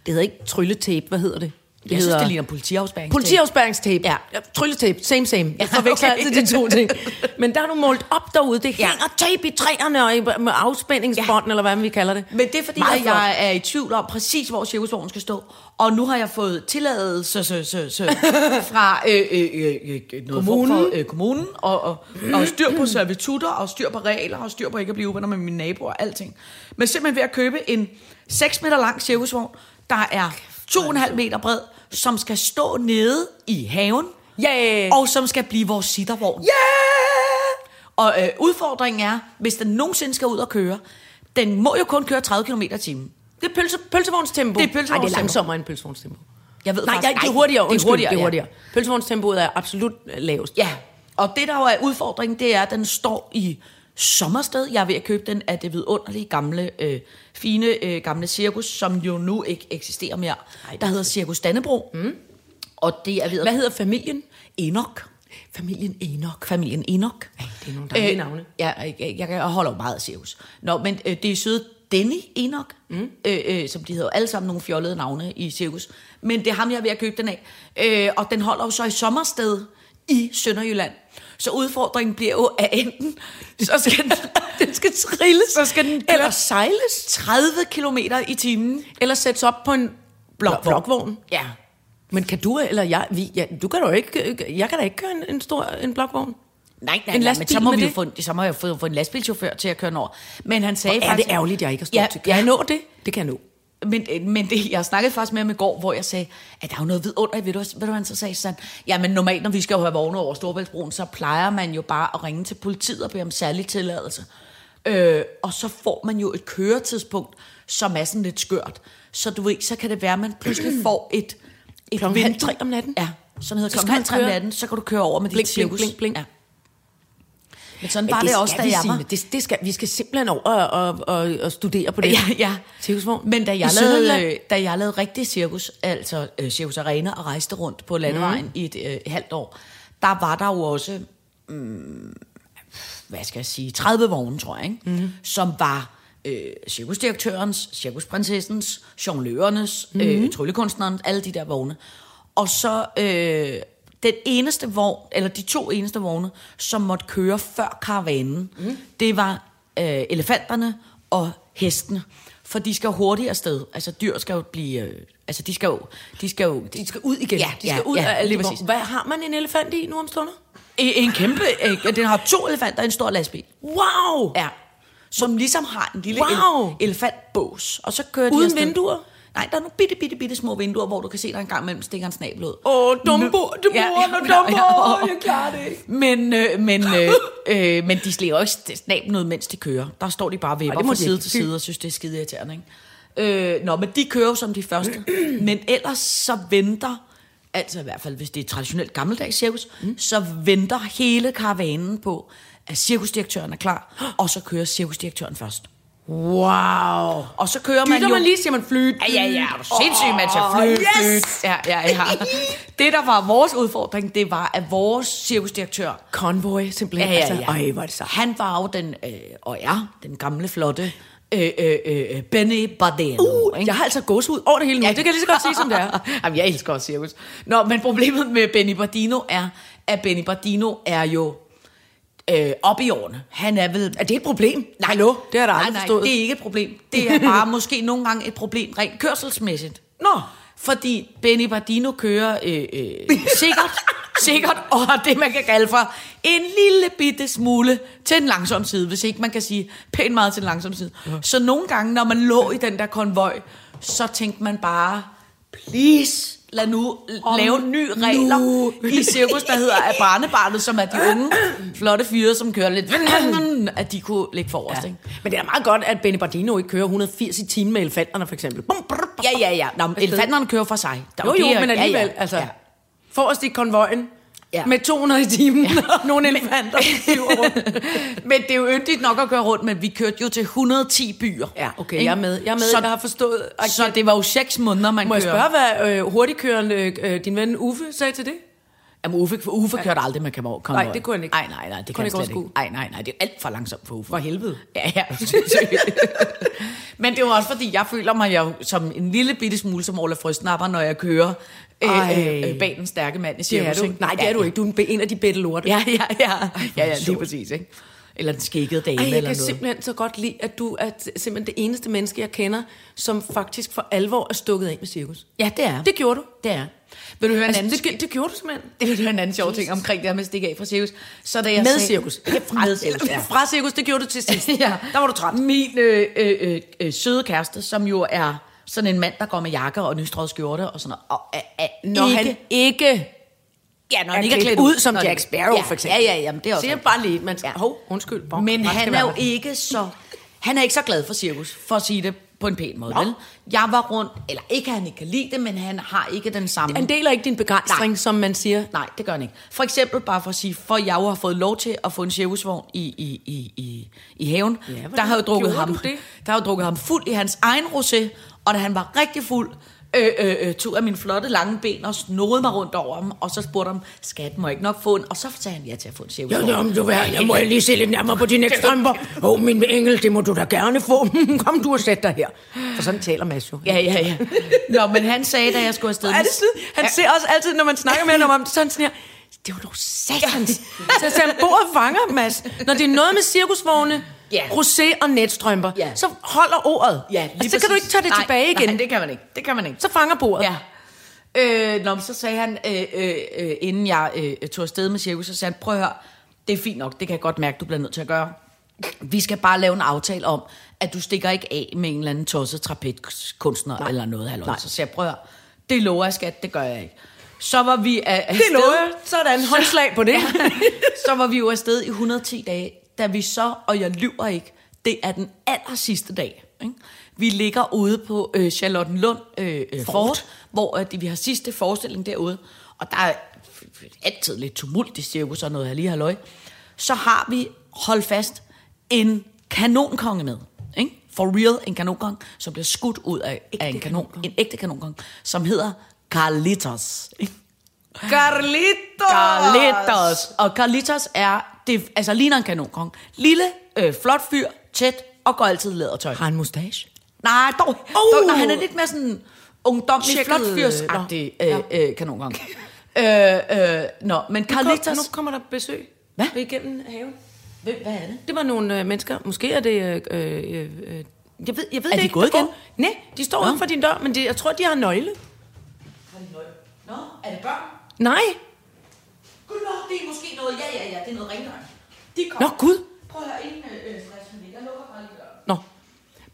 [SPEAKER 3] hedder ikke trylletape, hvad hedder det? Det
[SPEAKER 4] Jeg synes,
[SPEAKER 3] hedder
[SPEAKER 4] det ligner politiafspæring.
[SPEAKER 3] Politiafspæringstape. Ja. Trylletape, same same. Jeg forveksler
[SPEAKER 4] okay.
[SPEAKER 3] altid de to ting. Men der har du målt op derude. Det hænger tape i træerne og i, med afspændingsbånd, ja. eller hvad vi kalder det.
[SPEAKER 4] Men det er fordi,
[SPEAKER 3] Meget
[SPEAKER 4] at jeg er i tvivl om præcis, hvor cirkusvognen skal stå. Og nu har jeg fået tilladelse så, så, så, fra øh, øh, øh, øh, noget form
[SPEAKER 3] Kommunen.
[SPEAKER 4] for øh, kommunen, og, og, og styr på servitutter, og styr på regler, og styr på ikke at blive uvenner med mine naboer og alting. Men simpelthen ved at købe en 6 meter lang cirkusvogn, der er 2,5 meter bred, som skal stå nede i haven,
[SPEAKER 3] Ja.
[SPEAKER 4] og som skal blive vores sittervogn. Yeah! Og øh, udfordringen er, hvis den nogensinde skal ud og køre, den må jo kun køre 30 km i timen.
[SPEAKER 3] Det er pølse, pølsevognstempo.
[SPEAKER 4] Det er pølsevognstempo.
[SPEAKER 3] Nej, det er langsommere end pølsevognstempo.
[SPEAKER 4] Jeg ved
[SPEAKER 3] Nej,
[SPEAKER 4] faktisk-
[SPEAKER 3] jeg, det er hurtigere. Undskyld, det er hurtigere. Det er
[SPEAKER 4] ja.
[SPEAKER 3] hurtigere. Ja. Pølsevognstempoet er absolut øh, lavest.
[SPEAKER 4] Ja, og det der jo er udfordringen, det er, at den står i sommersted. Jeg er ved at købe den af det vidunderlige gamle, øh, fine øh, gamle cirkus, som jo nu ikke eksisterer mere. Ej, der hedder Cirkus Dannebro. Mm. Og det er ved at...
[SPEAKER 3] Hvad hedder familien?
[SPEAKER 4] Enok.
[SPEAKER 3] Familien Enoch.
[SPEAKER 4] Familien Enok.
[SPEAKER 3] Ej, det er nogle dejlige
[SPEAKER 4] Øh,
[SPEAKER 3] navne.
[SPEAKER 4] Ja, jeg, jeg, jeg holder jo meget af Sirius. Nå, men øh, det er søde Denny Enoch, mm. øh, øh, som de hedder jo alle sammen nogle fjollede navne i Sirius. Men det er ham, jeg er ved at købe den af. Øh, og den holder jo så i sommersted i Sønderjylland. Så udfordringen bliver jo, at enten så skal den, den skal trilles, så skal den
[SPEAKER 3] Eller
[SPEAKER 4] eller
[SPEAKER 3] sejles.
[SPEAKER 4] 30 km i timen.
[SPEAKER 3] Eller sættes op på en blokvogn. blokvogn.
[SPEAKER 4] Ja.
[SPEAKER 3] Men kan du eller jeg, vi, ja, du kan da ikke, jeg kan da ikke køre en, en stor en blokvogn.
[SPEAKER 4] Nej, nej,
[SPEAKER 3] En
[SPEAKER 4] en nej, men
[SPEAKER 3] lastbil
[SPEAKER 4] så må,
[SPEAKER 3] med
[SPEAKER 4] vi jo
[SPEAKER 3] det?
[SPEAKER 4] få, en- så må jeg jo få, få en lastbilchauffør til at køre den over. Men han sagde
[SPEAKER 3] Er det
[SPEAKER 4] faktisk...
[SPEAKER 3] ærgerligt, jeg ikke har stor
[SPEAKER 4] Ja,
[SPEAKER 3] ja, Kan jeg nå det? Det kan jeg nå.
[SPEAKER 4] Men, øh, men det, jeg snakkede faktisk med ham i går, hvor jeg sagde, at der er jo noget vidunderligt. Ved du, hvad- ved du hvad han så sagde? Så sagde han, jamen normalt, når vi skal have vogne over Storbæltsbroen, så plejer man jo bare at ringe til politiet og bede om særlig tilladelse. Øh, og så får man jo et køretidspunkt, som er sådan lidt skørt. Så du ved, så kan det være, at man pludselig får et, et
[SPEAKER 3] Klokken halv
[SPEAKER 4] vindue.
[SPEAKER 3] tre om natten?
[SPEAKER 4] Ja, sådan hedder
[SPEAKER 3] Så skal
[SPEAKER 4] klokken halv
[SPEAKER 3] man
[SPEAKER 4] tre om
[SPEAKER 3] køre-
[SPEAKER 4] natten, så kan du køre over med
[SPEAKER 3] Blink,
[SPEAKER 4] dit
[SPEAKER 3] blink,
[SPEAKER 4] cirkus.
[SPEAKER 3] blink, blink.
[SPEAKER 4] Ja. Men sådan var det, det også, da
[SPEAKER 3] vi,
[SPEAKER 4] jeg var.
[SPEAKER 3] Signe. Det, det skal, vi skal simpelthen over og, og, og, og studere på det.
[SPEAKER 4] Ja, ja.
[SPEAKER 3] Cirkusvogn.
[SPEAKER 4] Men da jeg,
[SPEAKER 3] I
[SPEAKER 4] lavede,
[SPEAKER 3] Sønderjylland?
[SPEAKER 4] øh, da jeg lavede rigtig cirkus, altså øh, cirkus arena og rejste rundt på landevejen mm. i et øh, halvt år, der var der jo også, mm, hvad skal jeg sige, 30 vogne, tror jeg, ikke?
[SPEAKER 3] Mhm.
[SPEAKER 4] Mm. som var øh, cirkusdirektørens, cirkusprinsessens, jonglørernes,
[SPEAKER 3] Mhm.
[SPEAKER 4] mm. øh, tryllekunstnerens, alle de der vogne. Og så øh, den eneste vogn, eller de to eneste vogne, som måtte køre før karavanen,
[SPEAKER 3] Mhm.
[SPEAKER 4] mm. det var øh, elefanterne og hestene. For de skal jo hurtigt afsted. Altså dyr skal jo blive... Øh, altså de skal jo... De skal jo
[SPEAKER 3] De skal ud igen.
[SPEAKER 4] øh, Ja,
[SPEAKER 3] de skal
[SPEAKER 4] ja,
[SPEAKER 3] ud
[SPEAKER 4] ja,
[SPEAKER 3] af alle
[SPEAKER 4] lige
[SPEAKER 3] de
[SPEAKER 4] præcis.
[SPEAKER 3] vogne. Hvad har man en elefant i nu om stunder?
[SPEAKER 4] En, en kæmpe... Øh, den har to elefanter og en stor lastbil.
[SPEAKER 3] Wow!
[SPEAKER 4] Ja. Som ligesom har en lille
[SPEAKER 3] Wow.
[SPEAKER 4] el- elefantbås. Og så kører
[SPEAKER 3] Uden
[SPEAKER 4] de afsted.
[SPEAKER 3] vinduer?
[SPEAKER 4] Nej, der er nogle bitte, bitte, bitte små vinduer, hvor du kan se, der engang imellem stikker en snabel ud.
[SPEAKER 3] Åh, Dumbo,
[SPEAKER 4] Men-
[SPEAKER 3] det bor, når Dumbo, jeg klarer det ikke.
[SPEAKER 4] Men, øh, men, øh, øh, men de slæber jo ikke snablen ud, mens de kører. Der står de bare og
[SPEAKER 3] Ej,
[SPEAKER 4] vipper
[SPEAKER 3] det må
[SPEAKER 4] fra
[SPEAKER 3] de
[SPEAKER 4] side
[SPEAKER 3] ikke.
[SPEAKER 4] til side og synes, det er skide irriterende, ikke? Øh, nå, men de kører jo som de første. men ellers så venter, altså i hvert fald hvis det er et traditionelt gammeldags cirkus, mm. så venter hele karavanen på, at cirkusdirektøren er klar, og så kører cirkusdirektøren først.
[SPEAKER 3] Wow.
[SPEAKER 4] Og så kører man
[SPEAKER 3] Dytter
[SPEAKER 4] jo...
[SPEAKER 3] man lige, siger man flyt.
[SPEAKER 4] Ja, ja, ja, er du sindssyg, man skal flytte, yes! Ja, ja, ja. Det, der var vores udfordring, det var, at vores cirkusdirektør,
[SPEAKER 3] Convoy, simpelthen.
[SPEAKER 4] Ja, ja, ja.
[SPEAKER 3] Altså, Ej, hvor er det så.
[SPEAKER 4] han var jo den, øh, og er, den gamle, flotte øh, øh, øh, Benny Bardeno. Uh,
[SPEAKER 3] Jeg har altså gås ud over det hele nu. Ja. Det kan jeg lige så godt sige, som det er.
[SPEAKER 4] Jamen, jeg elsker også cirkus. Nå, men problemet med Benny Bardino er, at Benny Bardino er jo øh, op i årene. Han er vel... Er det et problem? Nej, Hallo?
[SPEAKER 3] Det har jeg da aldrig
[SPEAKER 4] nej, nej,
[SPEAKER 3] forstået.
[SPEAKER 4] det er ikke et problem. Det er bare måske nogle gange et problem rent kørselsmæssigt.
[SPEAKER 3] Nå.
[SPEAKER 4] Fordi Benny Bardino kører øh, øh, sikkert, sikkert, og har det, man kan kalde for en lille bitte smule til en langsom side, hvis ikke man kan sige pænt meget til en langsom side. Ja. Så nogle gange, når man lå i den der konvoj, så tænkte man bare, please, lad nu Om lave nye regler
[SPEAKER 3] nu."
[SPEAKER 4] nu. i cirkus, der hedder at barnebarnet, som er de unge, flotte fyre, som kører lidt, at de kunne ligge forrest, ja. ikke?
[SPEAKER 3] Men det er da meget godt, at Benny Bardino ikke kører 180 i timen med elefanterne, for eksempel. Bum, brr, brr.
[SPEAKER 4] Ja, ja, ja. Nå, men elefanterne kører for sig. Der er
[SPEAKER 3] Jo, jo,
[SPEAKER 4] det,
[SPEAKER 3] men
[SPEAKER 4] ja, ja.
[SPEAKER 3] alligevel, altså. Forrest i konvojen.
[SPEAKER 4] Ja.
[SPEAKER 3] Med 200 i timen. og Nogle elefanter. der flyver rundt.
[SPEAKER 4] Men det er jo yndigt nok at køre rundt, men vi kørte jo til 110 byer.
[SPEAKER 3] Ja, okay,
[SPEAKER 4] Ikke?
[SPEAKER 3] jeg er med. Jeg er med,
[SPEAKER 4] Så,
[SPEAKER 3] jeg har forstået. Og
[SPEAKER 4] så det var jo 6 måneder, man
[SPEAKER 3] Må jeg
[SPEAKER 4] kører.
[SPEAKER 3] spørge, hvad øh, hurtigkørende øh, din ven Uffe sagde til det?
[SPEAKER 4] Jamen, Uffe, Uffe kørte aldrig med kamor.
[SPEAKER 3] Nej, det kunne han ikke.
[SPEAKER 4] Nej, nej, nej,
[SPEAKER 3] Kunne han
[SPEAKER 4] det kan han
[SPEAKER 3] ikke
[SPEAKER 4] slet ikke.
[SPEAKER 3] overskue.
[SPEAKER 4] Nej, nej, nej, det er alt for langsomt for Uffe.
[SPEAKER 3] For helvede.
[SPEAKER 4] Ja, ja. Men det var også fordi, jeg føler mig jo som en lille bitte smule som Ola Frøstnapper, når jeg kører øh,
[SPEAKER 3] Ej.
[SPEAKER 4] øh, øh, bag den stærke mand i
[SPEAKER 3] Det er
[SPEAKER 4] cirkus.
[SPEAKER 3] du ikke. Nej, det er
[SPEAKER 4] ja,
[SPEAKER 3] du ikke. Du er en- en af de bedte lorte.
[SPEAKER 4] Ja, ja, ja. Ja, ja, lige
[SPEAKER 3] sjovt.
[SPEAKER 4] præcis, ikke? Eller den skækkede dame
[SPEAKER 3] Ej,
[SPEAKER 4] eller
[SPEAKER 3] jeg
[SPEAKER 4] noget.
[SPEAKER 3] kan simpelthen så godt lide, at du er t- simpelthen det eneste menneske, jeg kender, som faktisk for alvor er stukket af med cirkus.
[SPEAKER 4] Ja, det er.
[SPEAKER 3] Det gjorde du.
[SPEAKER 4] Det er. Vil du høre en
[SPEAKER 3] Altså,
[SPEAKER 4] anden
[SPEAKER 3] det, gi- det gjorde du simpelthen.
[SPEAKER 4] Det vil du høre en anden sjov ting omkring det her med at stikke af fra cirkus. Så da jeg
[SPEAKER 3] Med
[SPEAKER 4] sagde-
[SPEAKER 3] cirkus.
[SPEAKER 4] Ja, fra, med cirkus, ja.
[SPEAKER 3] Fra cirkus, det gjorde du til sidst.
[SPEAKER 4] ja.
[SPEAKER 3] Der var du træt.
[SPEAKER 4] Min øh, øh, øh, øh, søde kæreste, som jo er sådan en mand, der går med jakker og nystrøget skjorte og sådan noget. Og, er, er,
[SPEAKER 3] Når
[SPEAKER 4] ikke,
[SPEAKER 3] han ikke
[SPEAKER 4] ja, når
[SPEAKER 3] er
[SPEAKER 4] han ikke er klædt
[SPEAKER 3] ud som
[SPEAKER 4] Når
[SPEAKER 3] Jack
[SPEAKER 4] det-
[SPEAKER 3] Sparrow,
[SPEAKER 4] ja,
[SPEAKER 3] for eksempel.
[SPEAKER 4] Ja, ja, ja, men det er også
[SPEAKER 3] Siger
[SPEAKER 4] rigtigt.
[SPEAKER 3] bare lige, man skal...
[SPEAKER 4] Ja.
[SPEAKER 3] Hov, undskyld. Bon.
[SPEAKER 4] Men
[SPEAKER 3] Man skal
[SPEAKER 4] han er
[SPEAKER 3] være
[SPEAKER 4] jo
[SPEAKER 3] med.
[SPEAKER 4] ikke så... Han er ikke så glad for cirkus, for at sige det på en pæn måde, vel? Jeg var rundt, eller ikke at han ikke kan lide det, men han har ikke den samme...
[SPEAKER 3] Han deler ikke din begejstring,
[SPEAKER 4] Nej.
[SPEAKER 3] som man siger.
[SPEAKER 4] Nej, det gør han ikke. For eksempel bare for at sige, for jeg jo har fået lov til at få en cirkusvogn i, i, i, i, i haven. Ja, der
[SPEAKER 3] hvordan
[SPEAKER 4] har jo drukket
[SPEAKER 3] gjorde
[SPEAKER 4] ham,
[SPEAKER 3] du det?
[SPEAKER 4] der har jo drukket ham fuld i hans egen rosé, og da han var rigtig fuld, øh, øh, øh, tog af mine flotte lange ben og snodede mig rundt over ham, og så spurgte ham, skat, må jeg ikke nok få en? Og så sagde han ja til at få en cirkusvogn.
[SPEAKER 3] Ja, men du hvad, jeg må lige se lidt nærmere på dine strømper. Åh, oh, min engel, det må du da gerne få. Kom du og sæt dig her. For sådan taler Mads jo.
[SPEAKER 4] Ja, ja, ja. Nå, men han sagde, da jeg skulle afsted...
[SPEAKER 3] Hvor er det sådan? Han ser også altid, når man snakker med ham om det, så er han sådan her, det var dog satans. Så sagde han, bord og fanger, Mads. Når det er noget med cirkusvogne,
[SPEAKER 4] Ja.
[SPEAKER 3] rosé og netstrømper,
[SPEAKER 4] Ja.
[SPEAKER 3] så holder ordet.
[SPEAKER 4] Ja, lige
[SPEAKER 3] altså, så kan du
[SPEAKER 4] præcis.
[SPEAKER 3] ikke tage det
[SPEAKER 4] nej,
[SPEAKER 3] tilbage igen.
[SPEAKER 4] Nej, det kan man ikke. Det kan man ikke.
[SPEAKER 3] Så fanger bordet.
[SPEAKER 4] Ja. Øh, nå, men så sagde han, øh, øh, øh, inden jeg øh, tog afsted med cirkus, så sagde han, prøv at høre, det er fint nok, det kan jeg godt mærke, du bliver nødt til at gøre. Vi skal bare lave en aftale om, at du stikker ikke af med en eller anden tosset trapetkunstner eller noget. Halløj. Så sagde jeg, prøv at høre, det lover jeg, skat, det gør jeg ikke. Så var vi af, afsted.
[SPEAKER 3] Det lover jeg. Sådan, håndslag på det.
[SPEAKER 4] så var vi jo afsted i 110 dage, da vi så, og jeg lyver ikke, det er den aller sidste dag. Ikke? Vi ligger ude på øh, Charlottenlund øh, øh, Fort, Fort hvor øh, det- vi har sidste forestilling derude, og der er altid lidt tumult i cirkus og noget her lige halløj. Så har vi, hold fast, en kanonkonge med. Ikke? For real, en kanonkonge, som bliver skudt ud af, af en, kanon, en ægte kanonkonge, som hedder Carlitos. Ikke?
[SPEAKER 3] Carlitos.
[SPEAKER 4] Carlitos. Og Carlitos er det altså, ligner en kanonkong. Lille, øh, flot fyr, tæt og går altid i lædertøj.
[SPEAKER 3] Har en mustache?
[SPEAKER 4] Nej, dog, oh. dog nej, han er lidt mere sådan ungdomlig,
[SPEAKER 3] Tjekket,
[SPEAKER 4] flot fyrsagtig
[SPEAKER 3] øh,
[SPEAKER 4] øh,
[SPEAKER 3] nå,
[SPEAKER 4] øh, kanonkong. øh, øh, nå, men Carl
[SPEAKER 3] Kom,
[SPEAKER 4] Lictors...
[SPEAKER 3] nu kommer der besøg.
[SPEAKER 4] Hvad?
[SPEAKER 3] Vi er Igennem haven.
[SPEAKER 4] Hvem- Hvad er det?
[SPEAKER 3] Det var nogle øh, mennesker. Måske er det... Øh, øh, øh, jeg ved, jeg ved
[SPEAKER 4] Er
[SPEAKER 3] det
[SPEAKER 4] de
[SPEAKER 3] ikke.
[SPEAKER 4] gået
[SPEAKER 3] Der
[SPEAKER 4] igen?
[SPEAKER 3] går- Nej, de står uden for din dør, men de, jeg tror, de har nøgle.
[SPEAKER 4] Nå, er det børn?
[SPEAKER 3] Nej.
[SPEAKER 4] Gud, nå, det er måske noget... Ja, ja, ja, det er noget rengøring. De
[SPEAKER 3] Nå, Gud.
[SPEAKER 4] Prøv at høre, inden øh, stress, jeg lukker bare lige døren.
[SPEAKER 3] Nå.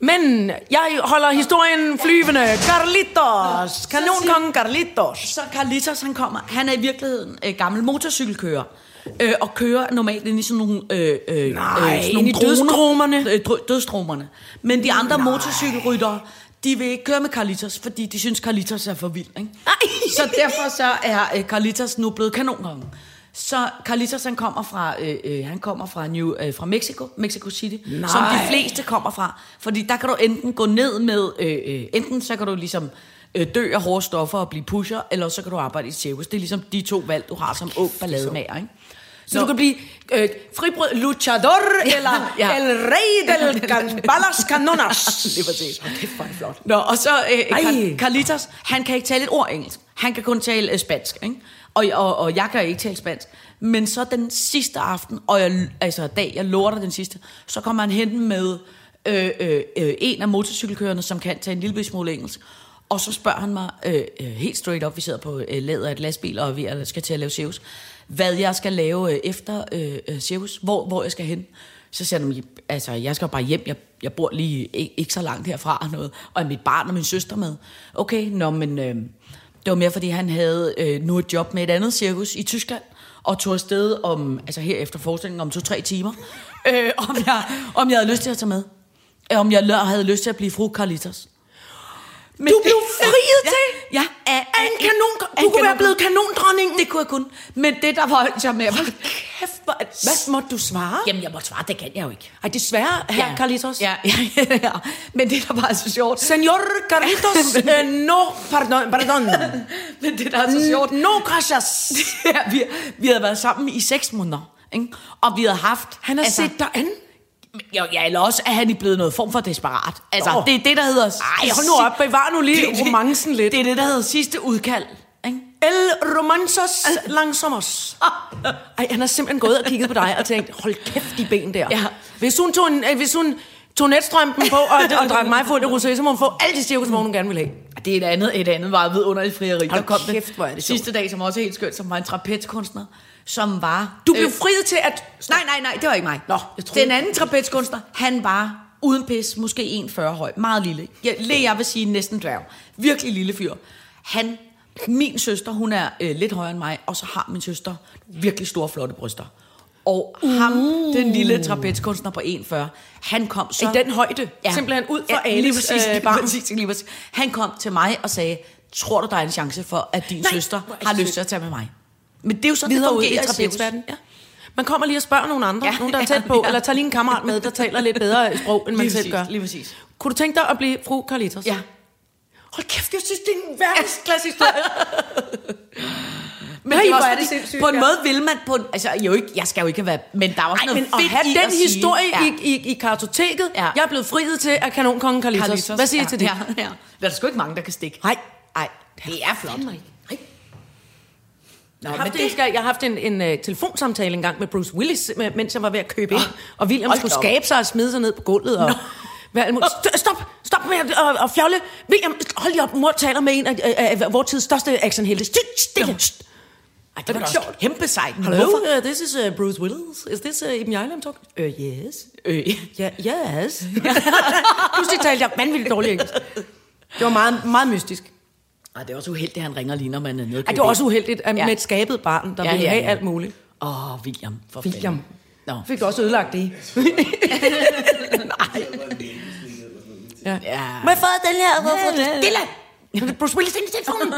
[SPEAKER 3] Men jeg holder historien flyvende. Carlitos.
[SPEAKER 4] så
[SPEAKER 3] Kanonkongen Carlitos.
[SPEAKER 4] Så Carlitos, han kommer. Han er i virkeligheden øh, gammel motorcykelkører. Øh, og kører normalt ind i sådan nogle... Øh, øh,
[SPEAKER 3] Nej,
[SPEAKER 4] sådan
[SPEAKER 3] ind i
[SPEAKER 4] droner.
[SPEAKER 3] dødsdromerne.
[SPEAKER 4] Øh, dø- dødsdromerne. Men de andre motorcykelryttere, de vil ikke køre med Carlitos, fordi de synes, Carlitos er for vild. Ikke? Så derfor så er øh, Carlitos nu blevet kanonkongen. Så Carlitos han kommer fra øh, øh, han kommer fra New øh, fra Mexico, Mexico City, Nej. som de fleste kommer fra, fordi der kan du enten gå ned med øh, øh, enten så kan du ligesom øh, dø af hårde stoffer og blive pusher, eller så kan du arbejde i cirkus. Det er ligesom de to valg du har som ung ballademager, ikke?
[SPEAKER 3] Så du kan blive øh, fribrød luchador, eller
[SPEAKER 4] ja.
[SPEAKER 3] el rey del can, balas canonas.
[SPEAKER 4] Lige præcis. Okay, for flot. Nå, og så øh, Car- Carlitos, han kan ikke tale et ord engelsk. Han kan kun tale øh, spansk, ikke? Og, og, og jeg kan ikke tale spansk. Men så den sidste aften, og jeg, altså dag, jeg lover dig den sidste, så kommer han hen med øh, øh, øh, en af motorcykelkørerne, som kan tale en lille bitte smule engelsk. Og så spørger han mig øh, øh, helt straight op, vi sidder på øh, ladet af et lastbil, og vi er- skal til at lave Zeus, hvad jeg skal lave øh, efter øh, øh, Zeus, hvor, hvor jeg skal hen. Så siger han, "Jamen, altså, jeg skal jo bare hjem, jeg, jeg bor lige ikke, ikke så langt herfra og noget, og mit barn og min søster med. Okay, nå, men øh, det var mere, fordi han havde øh, nu et job med et andet cirkus i Tyskland, og tog afsted om, altså her efter forestillingen om to-tre timer, øh, om, jeg, om jeg havde lyst til at tage med. Øh, om jeg lø- havde lyst til at blive fru Carlitos. Men
[SPEAKER 3] Du blev friet
[SPEAKER 4] ja,
[SPEAKER 3] til?
[SPEAKER 4] Ja. ja af,
[SPEAKER 3] Af en kanon, du kunne være blevet kanondronningen.
[SPEAKER 4] Det kunne jeg kun. Men det, der var jeg med, var, kæft, hvor...
[SPEAKER 3] Hvad måtte du svare?
[SPEAKER 4] Jamen, jeg må svare, det kan jeg jo ikke.
[SPEAKER 3] Ej, desværre, herr
[SPEAKER 4] Ja.
[SPEAKER 3] Carlitos.
[SPEAKER 4] Ja, ja, ja, ja. Men det, der var så sjovt...
[SPEAKER 3] Senor Carlitos, øh, no, pardon, pardon.
[SPEAKER 4] Men det, der er så sjovt...
[SPEAKER 3] No gracias.
[SPEAKER 4] Det er, vi, vi havde været sammen i seks måneder, ikke? Og vi havde haft...
[SPEAKER 3] Han har altså, set dig an.
[SPEAKER 4] Jo, ja, eller også er han i blevet noget form for desperat. Altså,
[SPEAKER 3] Nå.
[SPEAKER 4] det er det, der hedder...
[SPEAKER 3] Ej, hold nu op, bevar nu lige romancen lidt.
[SPEAKER 4] Det er det, der hedder sidste udkald, ikke?
[SPEAKER 3] El romanzos langsommers. Ej, han har simpelthen gået og kigget på dig og tænkt, hold kæft, de ben der.
[SPEAKER 4] Ja.
[SPEAKER 3] Hvis hun tog, en, øh, hvis hun tog netstrømpen på og, og drak mig fuld af rosé, så må hun få alt det cirkusvogn, hun gerne vil have.
[SPEAKER 4] Det er et andet, et andet var vidunderligt frieri.
[SPEAKER 3] Hold
[SPEAKER 4] der kom
[SPEAKER 3] kæft,
[SPEAKER 4] det,
[SPEAKER 3] hvor er det sjovt.
[SPEAKER 4] sidste dag, som også er helt skønt, som var en trapezkunstner, som var... øh,
[SPEAKER 3] Du blev friet til at...
[SPEAKER 4] Nej, nej, nej, det var ikke mig.
[SPEAKER 3] Nå, jeg troede-
[SPEAKER 4] Den anden trapezkunstner, han var uden pis, måske 1,40 høj, meget lille. Jeg, le, jeg vil sige næsten dværg. Virkelig lille fyr. Han, min søster, hun er øh, lidt højere end mig, og så har min søster virkelig store, flotte bryster. Og ham, den lille trapezkunstner på 1,40, han kom så...
[SPEAKER 3] Uh. I den højde. Simpelthen ud fra
[SPEAKER 4] ja,
[SPEAKER 3] Ales,
[SPEAKER 4] lige præcis,
[SPEAKER 3] øh,
[SPEAKER 4] lige
[SPEAKER 3] barm.
[SPEAKER 4] præcis, lige præcis. Han kom til mig og sagde, tror du, der er en chance for, at din
[SPEAKER 3] Nej,
[SPEAKER 4] Nej, søster
[SPEAKER 3] hvor er det
[SPEAKER 4] har lyst
[SPEAKER 3] sødt.
[SPEAKER 4] til at tage med mig? Men det er jo sådan,
[SPEAKER 3] videre
[SPEAKER 4] det
[SPEAKER 3] ud
[SPEAKER 4] fungerer
[SPEAKER 3] i
[SPEAKER 4] i cirkus.
[SPEAKER 3] trapezverdenen. Ja. Man kommer lige og spørger nogle andre, ja.
[SPEAKER 4] Ja.
[SPEAKER 3] nogen der er tæt på, ja.
[SPEAKER 4] Ja.
[SPEAKER 3] eller tager lige en kammerat med, der taler lidt bedre sprog, end man
[SPEAKER 4] Lige
[SPEAKER 3] selv
[SPEAKER 4] præcis,
[SPEAKER 3] gør.
[SPEAKER 4] lige præcis.
[SPEAKER 3] Kunne du tænke dig at blive fru Carlitos?
[SPEAKER 4] Ja.
[SPEAKER 3] Hold kæft, jeg synes, det er en verdensklasse historie.
[SPEAKER 4] Men
[SPEAKER 3] Nej,
[SPEAKER 4] det
[SPEAKER 3] hvor
[SPEAKER 4] var også,
[SPEAKER 3] er det
[SPEAKER 4] fordi,
[SPEAKER 3] sindssygt,
[SPEAKER 4] På en
[SPEAKER 3] ja.
[SPEAKER 4] måde vil man på en, altså jo ikke, jeg skal jo ikke være, men der er også
[SPEAKER 3] Ej,
[SPEAKER 4] noget
[SPEAKER 3] men at
[SPEAKER 4] fedt
[SPEAKER 3] have
[SPEAKER 4] i
[SPEAKER 3] den
[SPEAKER 4] at sige-
[SPEAKER 3] historie
[SPEAKER 4] ja.
[SPEAKER 3] i, i, i kartoteket, ja.
[SPEAKER 4] Ja.
[SPEAKER 3] jeg er blevet friet til af kanonkongen Carlitos. Carlitos. Hvad siger I
[SPEAKER 4] ja,
[SPEAKER 3] til det?
[SPEAKER 4] Ja, ja. Der er sgu ikke mange, der kan stikke.
[SPEAKER 3] Nej.
[SPEAKER 4] Nej, det er flot.
[SPEAKER 3] Fandme ikke.
[SPEAKER 4] Nå,
[SPEAKER 3] Jeg har,
[SPEAKER 4] men
[SPEAKER 3] haft
[SPEAKER 4] det,
[SPEAKER 3] en, jeg har haft en, en uh, telefonsamtale engang med Bruce Willis, med, mens jeg var ved at købe ind. Og William
[SPEAKER 4] Hold
[SPEAKER 3] skulle
[SPEAKER 4] da op.
[SPEAKER 3] skabe sig og smide sig ned på gulvet. Og, hvad, alt muligt. St- stop! Stop med at og, og fjolle! William, hold lige op, mor taler med en af, øh, af, af vores tids største actionhelte. St- stille! St- Ej,
[SPEAKER 4] det var
[SPEAKER 3] da
[SPEAKER 4] sjovt. Kæmpe sejt.
[SPEAKER 3] Hello,
[SPEAKER 4] Hvorfor?
[SPEAKER 3] uh, this is uh, Bruce Willis. Is this uh, Iben Jejlem talk? Uh, yes.
[SPEAKER 4] Øh,
[SPEAKER 3] Yeah, yes. Pludselig talte jeg vanvittigt dårligt engelsk. Det var meget, meget mystisk.
[SPEAKER 4] Ej, det er også uheldigt, at han ringer lige, når man er nede.
[SPEAKER 3] Ej, det var også uheldigt at,
[SPEAKER 4] Ja.
[SPEAKER 3] med et skabet barn, der ja, ville ja, ja. have alt muligt.
[SPEAKER 4] Åh, oh, William. For
[SPEAKER 3] William.
[SPEAKER 4] fanden. Nå.
[SPEAKER 3] Fik du også ødelagt det? Nej. ja.
[SPEAKER 4] Ja.
[SPEAKER 3] Må jeg få den her? Må jeg få den?
[SPEAKER 4] Stille!
[SPEAKER 3] Stille! Bruce Willis ind i telefonen.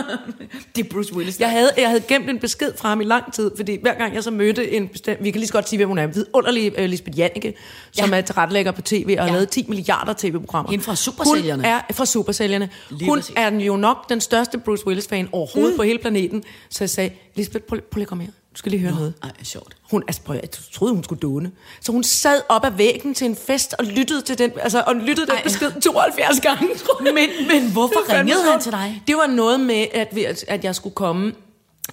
[SPEAKER 4] Det er Bruce Willis.
[SPEAKER 3] Jeg havde, jeg havde gemt en besked fra ham i lang tid, fordi hver gang jeg så mødte en bestemt... Vi kan lige så godt sige, hvem hun er. En vidunderlig uh, Lisbeth Janneke, som
[SPEAKER 4] Ja.
[SPEAKER 3] er tilrettelægger på tv og har
[SPEAKER 4] Ja.
[SPEAKER 3] lavet 10 milliarder tv-programmer.
[SPEAKER 4] Hende fra Supersælgerne.
[SPEAKER 3] Hun er fra Supersælgerne.
[SPEAKER 4] Lige
[SPEAKER 3] hun
[SPEAKER 4] præcis.
[SPEAKER 3] er jo nok den største Bruce Willis-fan overhovedet mm. på hele planeten. Så jeg sagde, Lisbeth, prøv, prøv lige at komme her. Du skal lige høre noget.
[SPEAKER 4] Ej, sjovt.
[SPEAKER 3] Hun, altså prøv, at- jeg troede, hun skulle dåne. Så hun sad op ad væggen til en fest og lyttede til den, altså, og lyttede den
[SPEAKER 4] Ej.
[SPEAKER 3] besked 72 gange, tror jeg.
[SPEAKER 4] Men, men
[SPEAKER 3] Det var
[SPEAKER 4] hvorfor
[SPEAKER 3] fandme
[SPEAKER 4] ringede han
[SPEAKER 3] sjovt.
[SPEAKER 4] til dig?
[SPEAKER 3] Det var noget med, at, vi, at- at jeg skulle komme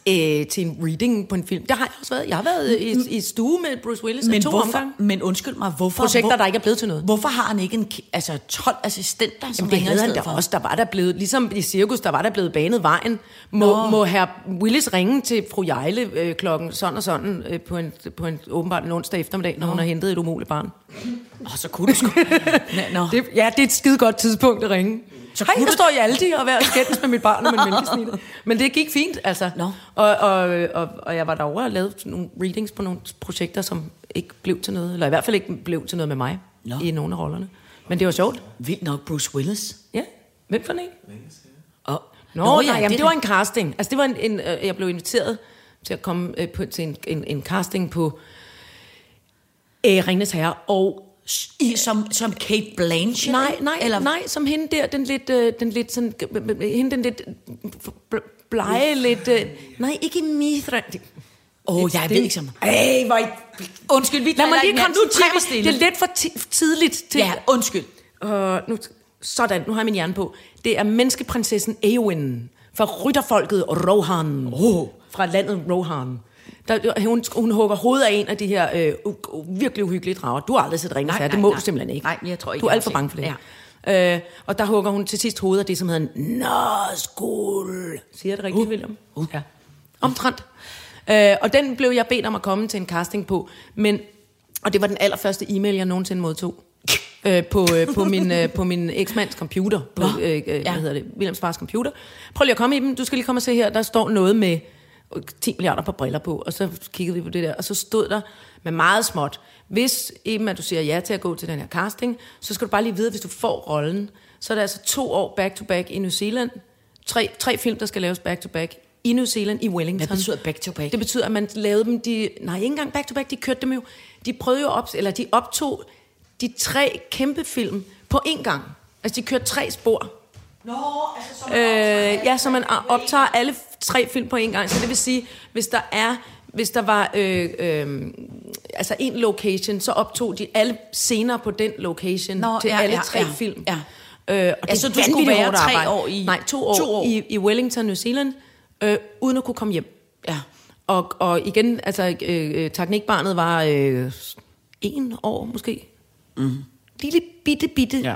[SPEAKER 3] øh, til en reading på en film. Det har jeg også været. Jeg har været i, i stue med Bruce Willis men
[SPEAKER 4] Mm, Men,
[SPEAKER 3] to
[SPEAKER 4] hvorfor,
[SPEAKER 3] omgange.
[SPEAKER 4] men undskyld mig, hvorfor,
[SPEAKER 3] Projekter,
[SPEAKER 4] hvor,
[SPEAKER 3] der ikke er blevet til noget.
[SPEAKER 4] hvorfor har han ikke en, ki- altså 12 assistenter, som
[SPEAKER 3] Jamen, det
[SPEAKER 4] ringer i
[SPEAKER 3] havde han
[SPEAKER 4] stedet
[SPEAKER 3] da
[SPEAKER 4] for?
[SPEAKER 3] også. Der var der blevet, ligesom i cirkus, der var der blevet banet vejen. Må, må herr Willis ringe til fru Jejle øh, klokken sådan og sådan øh, på, en, på en åbenbart en onsdag eftermiddag, når hun har hentet et umuligt barn?
[SPEAKER 4] Åh, så kunne du sgu. Nå, nå.
[SPEAKER 3] Det, ja, det er et skide godt tidspunkt at ringe. Så Hej, jeg står i Aldi og er ved at skændes med mit barn og min menneskesnitte. Men det gik fint, altså.
[SPEAKER 4] Nå.
[SPEAKER 3] Og, og, og, og jeg var derovre og lavede sådan nogle readings på nogle projekter, som ikke blev til noget. Eller i hvert fald ikke blev til noget med mig
[SPEAKER 4] Nå.
[SPEAKER 3] i nogle af rollerne. Men det var sjovt.
[SPEAKER 4] Vildt nok Bruce Willis.
[SPEAKER 3] Ja, hvem for en?
[SPEAKER 4] Og,
[SPEAKER 3] Nå, Nå ja, nej,
[SPEAKER 4] er
[SPEAKER 3] jamen, det var
[SPEAKER 4] rigtigt.
[SPEAKER 3] en casting. Altså, det var en, en øh, jeg blev inviteret til at komme øh, på, til en, en, en casting på øh, Ringnes Herre, og
[SPEAKER 4] I, som, som Kate Blanchett?
[SPEAKER 3] Nej,
[SPEAKER 4] ikke?
[SPEAKER 3] nej, eller... nej, som hende der, den lidt, øh, den lidt sådan, hende den lidt øh, blege, lidt, øh, nej, ikke Mithra. Det-
[SPEAKER 4] Åh, oh, jeg
[SPEAKER 3] Det-
[SPEAKER 4] ved ikke så meget. Ej, hvor I... Undskyld, vi
[SPEAKER 3] Lad mig
[SPEAKER 4] kalder
[SPEAKER 3] lige
[SPEAKER 4] hinanden
[SPEAKER 3] koncentrere mig.
[SPEAKER 4] stille.
[SPEAKER 3] Det er lidt for ti- tidligt til.
[SPEAKER 4] Ja, undskyld.
[SPEAKER 3] Og nu, sådan, nu har jeg min hjerne på. Det er menneskeprinsessen Eowyn fra rytterfolket Rohan. Oh. Fra landet Rohan. Der, hun, hun hugger hovedet af en af de her øh, u- u- virkelig uhyggelige drager. Du har aldrig set Ringens
[SPEAKER 4] Nej,
[SPEAKER 3] Herre, det
[SPEAKER 4] nej,
[SPEAKER 3] må
[SPEAKER 4] nej.
[SPEAKER 3] du simpelthen ikke.
[SPEAKER 4] Nej, men jeg tror ikke,
[SPEAKER 3] Du er
[SPEAKER 4] jeg
[SPEAKER 3] alt for
[SPEAKER 4] har
[SPEAKER 3] bange for
[SPEAKER 4] set
[SPEAKER 3] det. Ja. Øh, og der hugger hun til sidst hovedet af det, som hedder Nazgul. Siger jeg det rigtigt, uh. William? Uh. Ja. Omtrent. Øh, og den blev jeg bedt om at komme til en casting på. Men, og det var den allerførste e-mail, jeg nogensinde modtog. Øh, på, øh, på min, øh, på min eksmands computer. På,
[SPEAKER 4] Nå,
[SPEAKER 3] øh, øh, hvad
[SPEAKER 4] ja.
[SPEAKER 3] hedder det? Williams fars computer. Prøv lige at komme i dem. Du skal lige komme og se her. Der står noget med øh, 10 milliarder par briller på. Og så kiggede vi på det der. Og så stod der med meget småt. Hvis Eben, at du siger ja til at gå til den her casting, så skal du bare lige vide, at hvis du får rollen, så er der altså to år back-to-back i New Zealand. Tre, tre film, der skal laves back-to-back i New Zealand, i Wellington.
[SPEAKER 4] Hvad betyder back-to-back?
[SPEAKER 3] Det betyder, at man lavede dem, de, nej, ikke engang back to back, de kørte dem jo, de prøvede jo op, eller de optog de tre kæmpe film på én gang. Altså, de kørte tre spor. Nå, altså, øh, ja, så man optager alle tre film på én gang. Så det vil sige, hvis der er, hvis der var øh, øh, altså en location, så optog de alle scener på den location
[SPEAKER 4] Nå,
[SPEAKER 3] til
[SPEAKER 4] ja,
[SPEAKER 3] alle
[SPEAKER 4] ja,
[SPEAKER 3] tre
[SPEAKER 4] ja,
[SPEAKER 3] film.
[SPEAKER 4] ja.
[SPEAKER 3] Øh, og
[SPEAKER 4] Altså,
[SPEAKER 3] det
[SPEAKER 4] du
[SPEAKER 3] er
[SPEAKER 4] skulle
[SPEAKER 3] vanvittigt
[SPEAKER 4] være
[SPEAKER 3] hårdt
[SPEAKER 4] tre
[SPEAKER 3] arbejde.
[SPEAKER 4] år i-
[SPEAKER 3] Nej, to år,
[SPEAKER 4] to år.
[SPEAKER 3] I, i Wellington, New Zealand, øh, uden at kunne komme hjem.
[SPEAKER 4] Ja.
[SPEAKER 3] Og, og igen, altså, øh, øh, teknikbarnet var øh, en år måske. Mm. Lille bitte, bitte.
[SPEAKER 4] ja.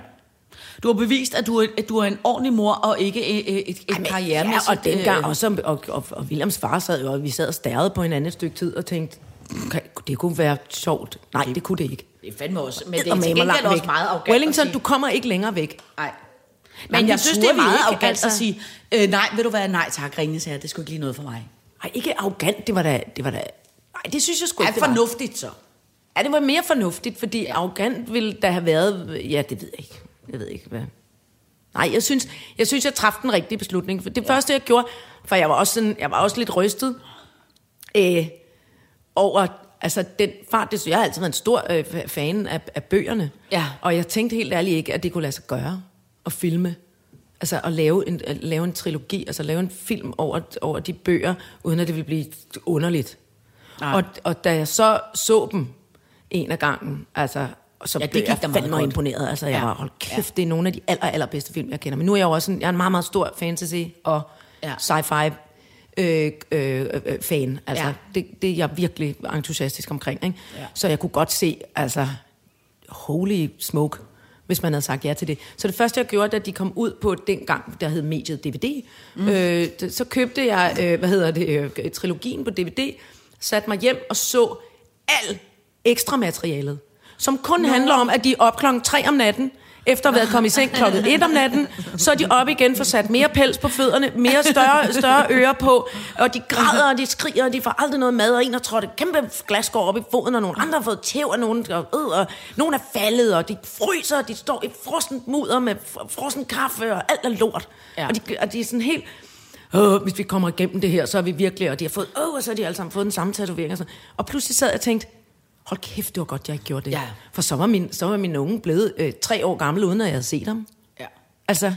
[SPEAKER 4] Du har bevist, at du er, at du er en ordentlig mor, og ikke øh, et, et, et
[SPEAKER 3] Ej, men
[SPEAKER 4] karrieremæssigt...
[SPEAKER 3] ja, og dengang
[SPEAKER 4] øh,
[SPEAKER 3] også, og, og, og Williams far sad jo, og vi sad og stærrede på hinanden et stykke tid og tænkte, okay, det kunne være sjovt. Nej, det kunne det ikke.
[SPEAKER 4] Det er fandme også, men det er
[SPEAKER 3] Eddermame
[SPEAKER 4] til gengæld
[SPEAKER 3] langt
[SPEAKER 4] også
[SPEAKER 3] væk.
[SPEAKER 4] meget arrogant
[SPEAKER 3] Wellington,
[SPEAKER 4] at sige.
[SPEAKER 3] du kommer ikke længere væk.
[SPEAKER 4] Nej. Men
[SPEAKER 3] Nej,
[SPEAKER 4] jeg,
[SPEAKER 3] det
[SPEAKER 4] jeg synes,
[SPEAKER 3] turde
[SPEAKER 4] det er
[SPEAKER 3] vi
[SPEAKER 4] meget
[SPEAKER 3] ikke,
[SPEAKER 4] arrogant
[SPEAKER 3] altså.
[SPEAKER 4] at sige, øh, nej, vil du være nej tak, Ringnes her, det skulle ikke lige noget for mig.
[SPEAKER 3] Ej, ikke arrogant, det var da... Det var da nej, det synes jeg sgu
[SPEAKER 4] Er
[SPEAKER 3] ikke, det var.
[SPEAKER 4] fornuftigt så.
[SPEAKER 3] Ja, det var mere fornuftigt, fordi arrogant ville der have været... Ja, det ved jeg ikke. Jeg ved ikke, hvad... Nej, jeg synes, jeg, synes, jeg traf den rigtige beslutning. For det ja. første, jeg gjorde, for jeg var også, sådan, jeg var også lidt rystet øh, over altså, den fart. Det, jeg har altid været en stor øh, fa- fan af, af bøgerne.
[SPEAKER 4] Ja.
[SPEAKER 3] Og jeg tænkte helt ærligt ikke, at det kunne lade sig gøre at filme. Altså at lave en, at lave en trilogi, altså lave en film over, over de bøger, uden at det ville blive underligt.
[SPEAKER 4] Nej.
[SPEAKER 3] Og, og da jeg så så dem en af gangen, altså, og så
[SPEAKER 4] Ja,
[SPEAKER 3] ja,
[SPEAKER 4] det
[SPEAKER 3] blev
[SPEAKER 4] gik
[SPEAKER 3] jeg
[SPEAKER 4] da meget
[SPEAKER 3] fandme
[SPEAKER 4] godt.
[SPEAKER 3] imponeret. Altså, jeg
[SPEAKER 4] Ja.
[SPEAKER 3] ja. var, hold kæft, det er nogle af de aller, allerbedste film, jeg kender. Men nu er jeg jo også en, jeg er en meget, meget stor fantasy og
[SPEAKER 4] Ja.
[SPEAKER 3] ja. sci-fi øh, øh, øh, fan. Altså,
[SPEAKER 4] Ja.
[SPEAKER 3] ja. det, det er jeg virkelig entusiastisk omkring. Ikke?
[SPEAKER 4] Ja.
[SPEAKER 3] Ja. Så jeg kunne godt se, altså, holy smoke, hvis man havde sagt ja til det. Så det første, jeg gjorde, da de kom ud på dengang, der hed mediet DVD, mm. øh, d- så købte jeg, øh, hvad hedder det, øh, trilogien på DVD, satte mig hjem og så alt ekstra materialet, som kun handler om, at de er op klokken 3 om natten, efter at have været kommet i seng klokken 1 om natten, så er de op igen, får sat mere pels på fødderne, mere større, større ører på, og de græder, og de skriger, og de får aldrig noget mad, og en har trådt et kæmpe glasgård op i foden, og nogle andre har fået tæv, og nogen, og, øh, og nogen er faldet, og de fryser, og de står i frossen mudder med fr- frossen kaffe, og alt er lort.
[SPEAKER 4] Ja.
[SPEAKER 3] Ja. Og, de, og de er sådan helt... Åh, hvis vi kommer igennem det her, så er vi virkelig... Og de har fået... Åh, og så har de alle sammen fået den samme tatovering. Og, sådan. og pludselig sad jeg og tænkte... Hold kæft, det var godt, jeg ikke gjorde det.
[SPEAKER 4] Ja.
[SPEAKER 3] For så var min, så var min unge blevet øh, tre år gammel, uden at jeg havde set ham.
[SPEAKER 4] Ja.
[SPEAKER 3] Altså,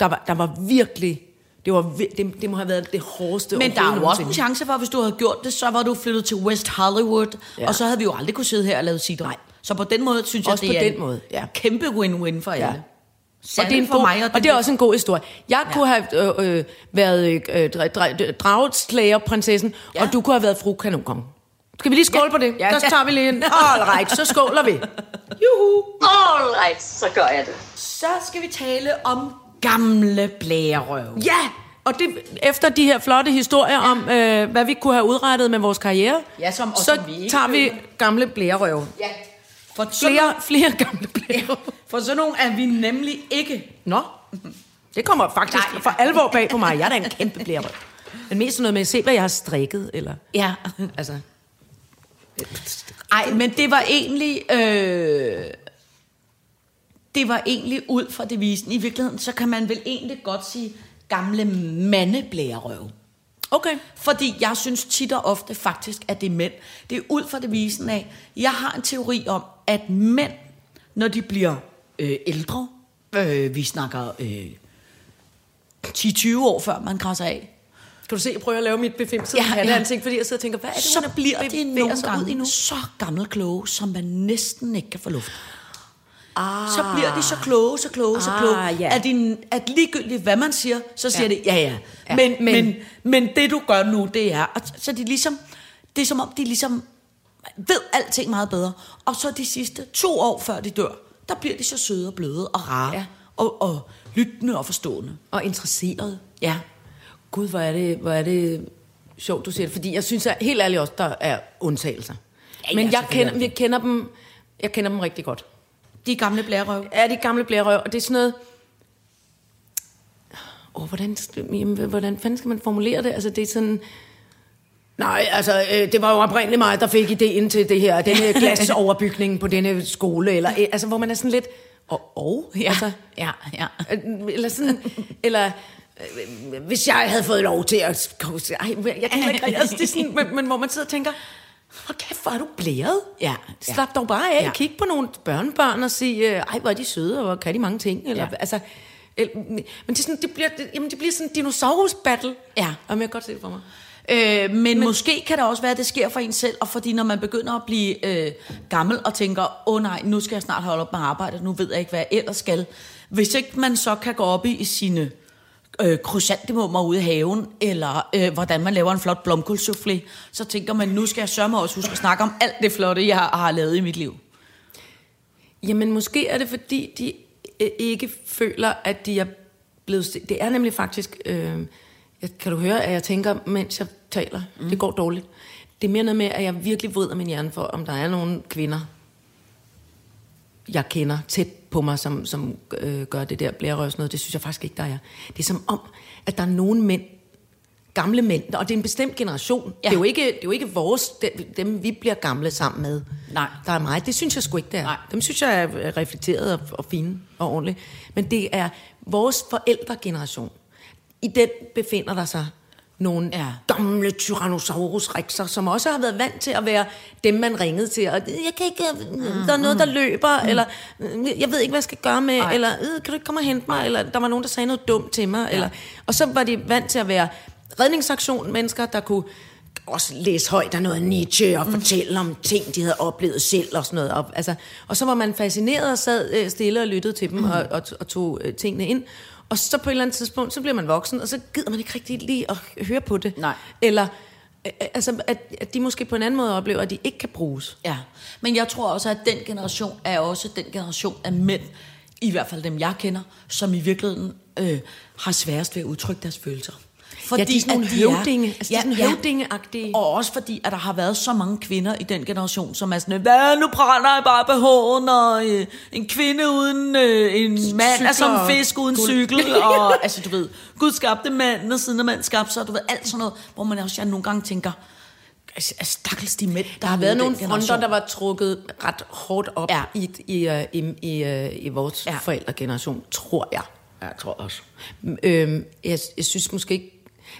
[SPEAKER 3] der var, der var virkelig... Det, var, vir- det, det må have været det hårdeste
[SPEAKER 4] Men der er jo
[SPEAKER 3] overhovedet
[SPEAKER 4] også en
[SPEAKER 3] nogensinde.
[SPEAKER 4] chance for, at hvis du havde gjort det, så var du flyttet til West Hollywood, ja.
[SPEAKER 3] Ja.
[SPEAKER 4] og så havde vi jo aldrig kunne sidde her og lave sidder.
[SPEAKER 3] Nej.
[SPEAKER 4] Så på den måde, synes
[SPEAKER 3] Også
[SPEAKER 4] jeg, det
[SPEAKER 3] på
[SPEAKER 4] er
[SPEAKER 3] den måde, ja.
[SPEAKER 4] kæmpe win-win for
[SPEAKER 3] Ja.
[SPEAKER 4] alle.
[SPEAKER 3] Og det, er en
[SPEAKER 4] for
[SPEAKER 3] god,
[SPEAKER 4] mig,
[SPEAKER 3] og det er også en god historie. Jeg ja. kunne have øh, øh, været øh, dra- dra- dragetslagerprinsessen,
[SPEAKER 4] Ja.
[SPEAKER 3] ja. og du kunne have været fru kanonkong. Skal vi lige skåle
[SPEAKER 4] Ja.
[SPEAKER 3] ja. på det?
[SPEAKER 4] Ja.
[SPEAKER 3] Ja. Der tager vi lige en. All right, så skåler vi.
[SPEAKER 2] All right, så gør jeg det.
[SPEAKER 4] Så skal vi tale om gamle blærerøv.
[SPEAKER 3] Ja! Og det, efter de her flotte historier om, øh, hvad vi kunne have udrettet med vores karriere,
[SPEAKER 4] Ja, som- og
[SPEAKER 3] så
[SPEAKER 4] som vi ikke
[SPEAKER 3] tager vi
[SPEAKER 4] føler.
[SPEAKER 3] gamle blærerøv.
[SPEAKER 4] Ja. For sådan,
[SPEAKER 3] Flere, flere gamle blærerøv.
[SPEAKER 4] for sådan nogle er vi nemlig ikke.
[SPEAKER 3] Nå, det kommer faktisk
[SPEAKER 4] Nej, nej.
[SPEAKER 3] for alvor bag på mig. Jeg er da en kæmpe blærerøv. Men mest sådan noget med, se hvad jeg har strikket, eller...
[SPEAKER 4] Ja.
[SPEAKER 3] Altså,
[SPEAKER 4] Ej, men det var egentlig... Øh, det var egentlig ud fra devisen. I virkeligheden, så kan man vel egentlig godt sige gamle mandeblærerøv.
[SPEAKER 3] okay.
[SPEAKER 4] Fordi jeg synes tit og ofte faktisk, at det er mænd. Det er ud fra devisen af, jeg har en teori om, at mænd, når de bliver øh, ældre, øh, vi snakker øh, 10-20 år før man krasser af,
[SPEAKER 3] Kan du se, jeg prøver at lave mit befimsede
[SPEAKER 4] Ja,
[SPEAKER 3] ja,
[SPEAKER 4] ja.
[SPEAKER 3] katteansigt, fordi jeg sidder og tænker, hvad er det, hun
[SPEAKER 4] så
[SPEAKER 3] er
[SPEAKER 4] bliver
[SPEAKER 3] bevæger
[SPEAKER 4] de nogle
[SPEAKER 3] sig ud i nu?
[SPEAKER 4] gange så gammelkloge, som man næsten ikke kan få luft. Ah. Så bliver de så kloge, så kloge, så
[SPEAKER 3] Ah,
[SPEAKER 4] kloge,
[SPEAKER 3] ja.
[SPEAKER 4] at, de, at ligegyldigt hvad man siger, så siger ja.
[SPEAKER 3] Ja.
[SPEAKER 4] det, ja, ja. ja.
[SPEAKER 3] Ja,
[SPEAKER 4] Men,
[SPEAKER 3] men-
[SPEAKER 4] men. Men, men det du gør nu, det er, og så er de ligesom, det er som om, de ligesom ved alting meget bedre. Og så de sidste to år før de dør, der bliver de så søde og bløde og rare, ja.
[SPEAKER 3] Ja.
[SPEAKER 4] og, og lyttende og forstående.
[SPEAKER 3] Og interesseret.
[SPEAKER 4] Ja.
[SPEAKER 3] Gud, hvor er det, hvor er det sjovt, du siger det. Fordi jeg synes at helt ærligt også, der er undtagelser.
[SPEAKER 4] Ja,
[SPEAKER 3] Ja,
[SPEAKER 4] ja,
[SPEAKER 3] Men jeg
[SPEAKER 4] selvfølgelig er
[SPEAKER 3] kender, jeg, kender dem, jeg kender dem rigtig godt.
[SPEAKER 4] De gamle blærerøv.
[SPEAKER 3] Er de gamle blærerøv, og det er sådan noget... Åh, hvordan, jamen, hvordan fanden skal man formulere det? Altså, det er sådan... Nej, altså, øh, det var jo oprindeligt mig, der fik ideen til det her, denne glasoverbygning på denne skole, eller, øh, altså, hvor man er sådan lidt, og, og ja. altså,
[SPEAKER 4] ja, ja.
[SPEAKER 3] Øh, Eller sådan, eller øh, hvis jeg havde fået lov til at... Ej, men jeg kan ikke rigtig- altså, det er sådan, men, men hvor man sidder og tænker, hvor kæft, hvor er du blæret.
[SPEAKER 4] Ja, ja.
[SPEAKER 3] Slap dog bare af,
[SPEAKER 4] Ja.
[SPEAKER 3] ja. kig på nogle børnebørn og sige, øh, ej, hvor er de søde, og hvor kan de mange ting. Eller,
[SPEAKER 4] Ja.
[SPEAKER 3] ja. altså, el- men det, er sådan, det, bliver, det, jamen, det bliver sådan en dinosaurus-battle.
[SPEAKER 4] Ja.
[SPEAKER 3] Jamen, jeg kan godt se det for mig.
[SPEAKER 4] Øh, men, men måske kan det også være, at det sker for en selv, og fordi når man begynder at blive øh, gammel og tænker, åh oh, nej, nu skal jeg snart holde op med arbejdet, nu ved jeg ikke, hvad jeg ellers skal. Hvis ikke man så kan gå op i, i sine øh, krysantemummer ude i haven, eller øh, hvordan man laver en flot blomkålsoufflé, så tænker man, nu skal jeg sørge mig også huske at snakke om alt det flotte, jeg har lavet i mit liv.
[SPEAKER 3] Jamen, måske er det, fordi de øh, ikke føler, at de er blevet... se- Det er nemlig faktisk... Øh, jeg, kan du høre, at jeg tænker, mens jeg taler? Mm. Det går dårligt. Det er mere noget med, at jeg virkelig vrider min hjerne for, om der er nogle kvinder, jeg kender tæt på mig, som, som øh, gør det der blærerøvs noget. Det synes jeg faktisk ikke, der er. Det er som om, at der er nogle mænd, gamle mænd, og det er en bestemt generation. Ja.
[SPEAKER 4] Ja.
[SPEAKER 3] Det, er jo ikke, det er jo ikke vores, dem- dem vi bliver gamle sammen med.
[SPEAKER 4] Nej.
[SPEAKER 3] Der er meget. Det synes jeg sgu ikke, det er.
[SPEAKER 4] Nej.
[SPEAKER 3] Dem synes jeg er reflekteret og, og fine og ordentlige. Men det er vores forældregeneration. I den befinder der sig nogle
[SPEAKER 4] Ja.
[SPEAKER 3] ja. gamle Tyrannosaurus rexer, som også har været vant til at være dem, man ringede til. Og jeg kan ikke, øh, der er noget, der løber, mm. eller øh, jeg ved ikke, hvad jeg skal gøre med,
[SPEAKER 4] Ej.
[SPEAKER 3] Ej. eller øh, kan du ikke komme og hente mig, eller der var nogen, der sagde noget dumt til mig. Ja. Eller, og så var de vant til at være redningsaktion mennesker, der kunne også læse højt af noget Nietzsche og mm. fortælle om ting, de havde oplevet selv og sådan noget. Og, altså, og så var man fascineret og sad øh, stille og lyttede til dem mm. og, og, og tog øh, tingene ind. Og så på et eller andet tidspunkt, så bliver man voksen, og så gider man ikke rigtig lige at høre på det.
[SPEAKER 4] Nej.
[SPEAKER 3] Eller øh, øh, altså, at, at de måske på en anden måde oplever, at de ikke kan bruges.
[SPEAKER 4] Ja, men jeg tror også, at den generation er også den generation af mænd, i hvert fald dem jeg kender, som i virkeligheden øh, har sværest ved at udtrykke deres følelser. Fordi
[SPEAKER 3] de er sådan nogle
[SPEAKER 4] at
[SPEAKER 3] høvdinge. Altså, de er sådan høvdingeagtige.
[SPEAKER 4] Og også fordi, at der har været så mange kvinder i den generation, som er sådan, hvad, nu brænder jeg bare behoven, og øh, en kvinde uden øh, en mand er
[SPEAKER 3] Cykler
[SPEAKER 4] som
[SPEAKER 3] og
[SPEAKER 4] fisk uden
[SPEAKER 3] guld."
[SPEAKER 4] cykel, og altså du ved, Gud skabte manden, og siden af mand skabte sig, og du ved, alt sådan noget, hvor man også jeg nogle gange tænker, altså, stakkels de mænd, der,
[SPEAKER 3] Der har været nogle fronter,
[SPEAKER 4] generation.
[SPEAKER 3] der var trukket ret hårdt op
[SPEAKER 4] Ja.
[SPEAKER 3] ja. i, i, øh, i, i, øh, i vores
[SPEAKER 4] Ja.
[SPEAKER 3] ja. forældregeneration, tror jeg. Ja, jeg tror også. Øhm, jeg, jeg synes måske ikke...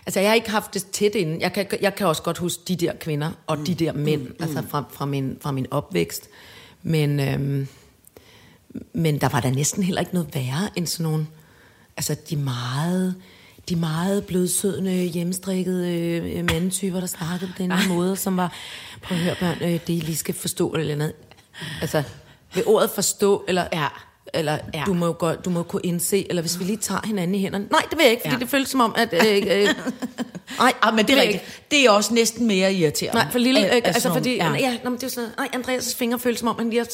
[SPEAKER 3] Altså, jeg har ikke haft det tæt inden. Jeg kan, jeg kan også godt huske de der kvinder og mm. de der mænd, mm. altså fra, fra, min, fra min opvækst. Men, øhm, men der var da næsten heller ikke noget værre end sådan nogle... Altså, de meget de meget blødsødende, hjemmestrikkede øh, mandetyper, der snakkede på den her måde, som var, prøv at høre børn, øh, det I lige skal forstå eller andet. Altså, ved ordet forstå, eller, ja. eller ja. du må jo godt, du må kunne indse, eller hvis vi lige tager hinanden i hænderne. Nej, det vil jeg ikke, fordi ja.
[SPEAKER 4] Ja.
[SPEAKER 3] det føles som om, at... Øh, øh, nej,
[SPEAKER 4] Ah, men det
[SPEAKER 3] vil
[SPEAKER 4] er
[SPEAKER 3] jeg
[SPEAKER 4] rigtigt. Det er også næsten mere irriterende.
[SPEAKER 3] Nej, for lille, øh,
[SPEAKER 4] At- at
[SPEAKER 3] altså
[SPEAKER 4] sådan
[SPEAKER 3] fordi, ja,
[SPEAKER 4] nogle-
[SPEAKER 3] ja nå, men det er jo sådan, nej, Andreas' fingre føles som om, han lige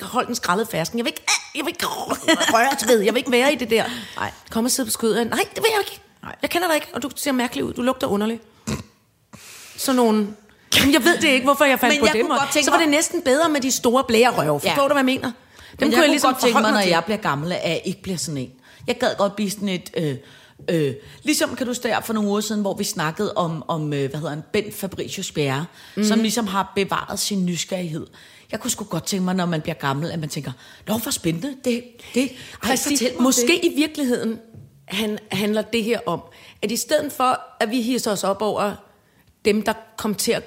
[SPEAKER 3] har holdt en skrællet fersken. Jeg vil ikke, ah, jeg vil ikke røre ved, jeg vil ikke være i det der.
[SPEAKER 4] Nej.
[SPEAKER 3] Kom og sidde på skødet. Nej, det vil jeg ikke. Nej. Jeg kender dig ikke, og du ser mærkelig ud. Du lugter underligt. Sådan nogle... Jamen, jeg ved det ikke, hvorfor jeg fandt
[SPEAKER 4] Men
[SPEAKER 3] på
[SPEAKER 4] jeg
[SPEAKER 3] dem.
[SPEAKER 4] kunne
[SPEAKER 3] og-
[SPEAKER 4] godt tænke
[SPEAKER 3] Så var
[SPEAKER 4] mig-
[SPEAKER 3] det næsten bedre med de store blærerøve.
[SPEAKER 4] Ja.
[SPEAKER 3] Forstår du, hvad jeg mener? Dem
[SPEAKER 4] Men
[SPEAKER 3] kunne
[SPEAKER 4] jeg,
[SPEAKER 3] jeg,
[SPEAKER 4] kunne
[SPEAKER 3] ligesom
[SPEAKER 4] godt tænke mig,
[SPEAKER 3] forholde
[SPEAKER 4] når
[SPEAKER 3] til.
[SPEAKER 4] jeg bliver gammel, at jeg ikke bliver sådan en. Jeg gad godt blive sådan et... Øh, øh, ligesom kan du stå her for nogle uger siden, hvor vi snakkede om, om øh, hvad hedder han, Bent Fabricius Bjerre, mm.
[SPEAKER 3] Mhm.
[SPEAKER 4] som ligesom har bevaret sin nysgerrighed. Jeg kunne sgu godt tænke mig, når man bliver gammel, at man tænker, nå, hvor spændende, det, det, ej,
[SPEAKER 3] Præcis.
[SPEAKER 4] fortæl mig om
[SPEAKER 3] Måske
[SPEAKER 4] det.
[SPEAKER 3] i virkeligheden han, handler det her om, at i stedet for, at vi hisser os op over dem, der kom til at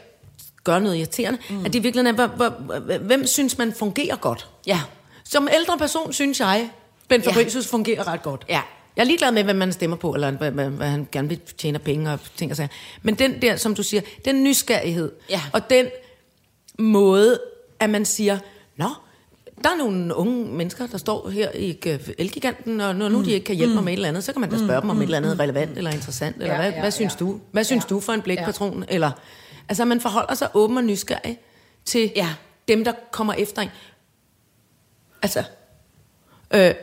[SPEAKER 3] gøre noget irriterende, mm. at det i virkeligheden er, hvor, hvor, hvem synes man fungerer godt?
[SPEAKER 4] Ja,
[SPEAKER 3] Som ældre person synes jeg, Ben
[SPEAKER 4] Ja.
[SPEAKER 3] Fabricius fungerer ret godt.
[SPEAKER 4] Ja.
[SPEAKER 3] Jeg er ligeglad med, hvad man stemmer på, eller hvad, hvad, hvad han gerne vil tjene af penge og ting og sager. Men den der, som du siger, den nysgerrighed,
[SPEAKER 4] Ja.
[SPEAKER 3] og den måde, at man siger, nå, der er nogle unge mennesker, der står her i øh, Elgiganten, og når nu
[SPEAKER 2] Mm.
[SPEAKER 3] de ikke kan hjælpe mig med et eller andet, så kan man da spørge dem om et eller andet relevant eller interessant, eller
[SPEAKER 2] Ja,
[SPEAKER 3] hvad,
[SPEAKER 2] ja,
[SPEAKER 3] hvad synes
[SPEAKER 2] ja.
[SPEAKER 3] du? Hvad synes du for en blækpatron? Eller, altså, man forholder sig åben og nysgerrig til
[SPEAKER 4] Ja.
[SPEAKER 3] dem, der kommer efter en. Altså, øh,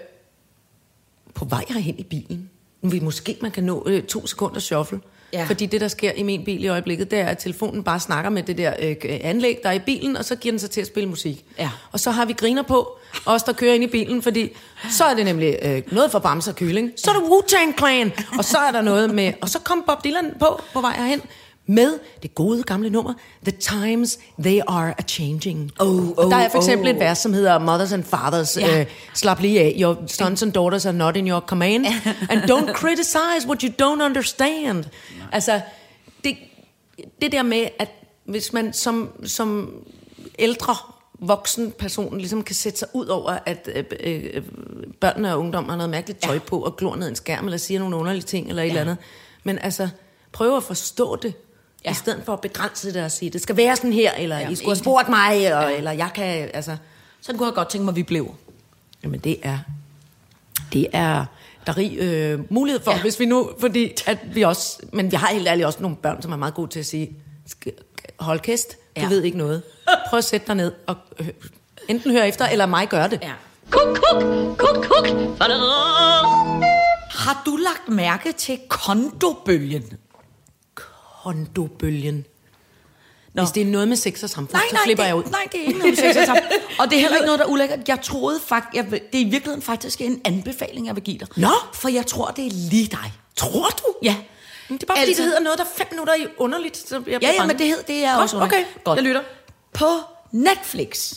[SPEAKER 3] på vej herhen i bilen. Vi måske man kan nå øh, to sekunder shuffle. Ja.
[SPEAKER 4] Ja.
[SPEAKER 3] Fordi det, der sker i min bil i øjeblikket, det er, at telefonen bare snakker med det der øh, øh, anlæg, der er i bilen, og så giver den sig til at spille musik.
[SPEAKER 4] Ja.
[SPEAKER 3] Og så har vi griner på, os der kører ind i bilen, fordi så er det nemlig øh, noget for Bamse og Kylling, så er det Wu-Tang Clan, og så er der noget med... Og så kom Bob Dylan på, på vej herhen, med det gode gamle nummer, The Times They Are A-Changing.
[SPEAKER 4] Oh,
[SPEAKER 3] Og der er for
[SPEAKER 4] oh,
[SPEAKER 3] eksempel
[SPEAKER 4] oh.
[SPEAKER 3] et vers, som hedder Mothers and Fathers.
[SPEAKER 4] Ja.
[SPEAKER 3] Ja. Øh, slap lige af. Your sons and daughters are not in your command. and don't criticize what you don't understand. Nej. Altså, det, det der med, at hvis man som, som ældre voksen person ligesom kan sætte sig ud over, at øh, øh, børnene og ungdommen har noget mærkeligt tøj på, og glor ned i en skærm, eller siger nogle underlige ting, eller et eller andet. Men altså, prøv at forstå det, ja. i stedet for at begrænse det og sige, det skal være sådan her, eller ja, I skulle have spurgt mig, og, ja. eller jeg kan, altså...
[SPEAKER 4] sådan kunne jeg godt tænke mig, vi blev.
[SPEAKER 3] Jamen det er, det er der er rig øh, mulighed for, ja. hvis vi nu, fordi at vi også, men vi har helt ærligt også nogle børn, som er meget gode til at sige, "Sk- hold kæst, du
[SPEAKER 4] Ja.
[SPEAKER 3] ja. ved ikke noget. Prøv at sætte dig ned og øh, enten høre efter, eller mig gør det.
[SPEAKER 4] Ja.
[SPEAKER 2] Kuk, kuk, kuk, kuk.
[SPEAKER 4] Har du lagt mærke til kondobølgen?
[SPEAKER 3] Hondobølgen.
[SPEAKER 4] Nå.
[SPEAKER 3] Hvis det er noget med sex og samfund,
[SPEAKER 4] Nej,
[SPEAKER 3] så
[SPEAKER 4] nej,
[SPEAKER 3] slipper
[SPEAKER 4] det,
[SPEAKER 3] jeg ud.
[SPEAKER 4] Nej, det er ikke noget med sex og samfund. Og det er heller ikke noget, der er ulækkert. Jeg troede faktisk, jeg, vil- det er i virkeligheden faktisk en anbefaling, jeg vil give dig.
[SPEAKER 3] Nå.
[SPEAKER 4] For jeg tror, det er lige dig.
[SPEAKER 3] Tror du?
[SPEAKER 4] Ja.
[SPEAKER 3] Men det er bare fordi,
[SPEAKER 4] Altså-
[SPEAKER 3] det hedder noget, der er fem minutter i underligt. Så jeg
[SPEAKER 4] Ja,
[SPEAKER 3] bliver
[SPEAKER 4] ja,
[SPEAKER 3] bange.
[SPEAKER 4] men det, hed, det er
[SPEAKER 3] Godt,
[SPEAKER 4] også
[SPEAKER 3] okay.
[SPEAKER 4] Godt.
[SPEAKER 3] Jeg lytter.
[SPEAKER 4] På Netflix,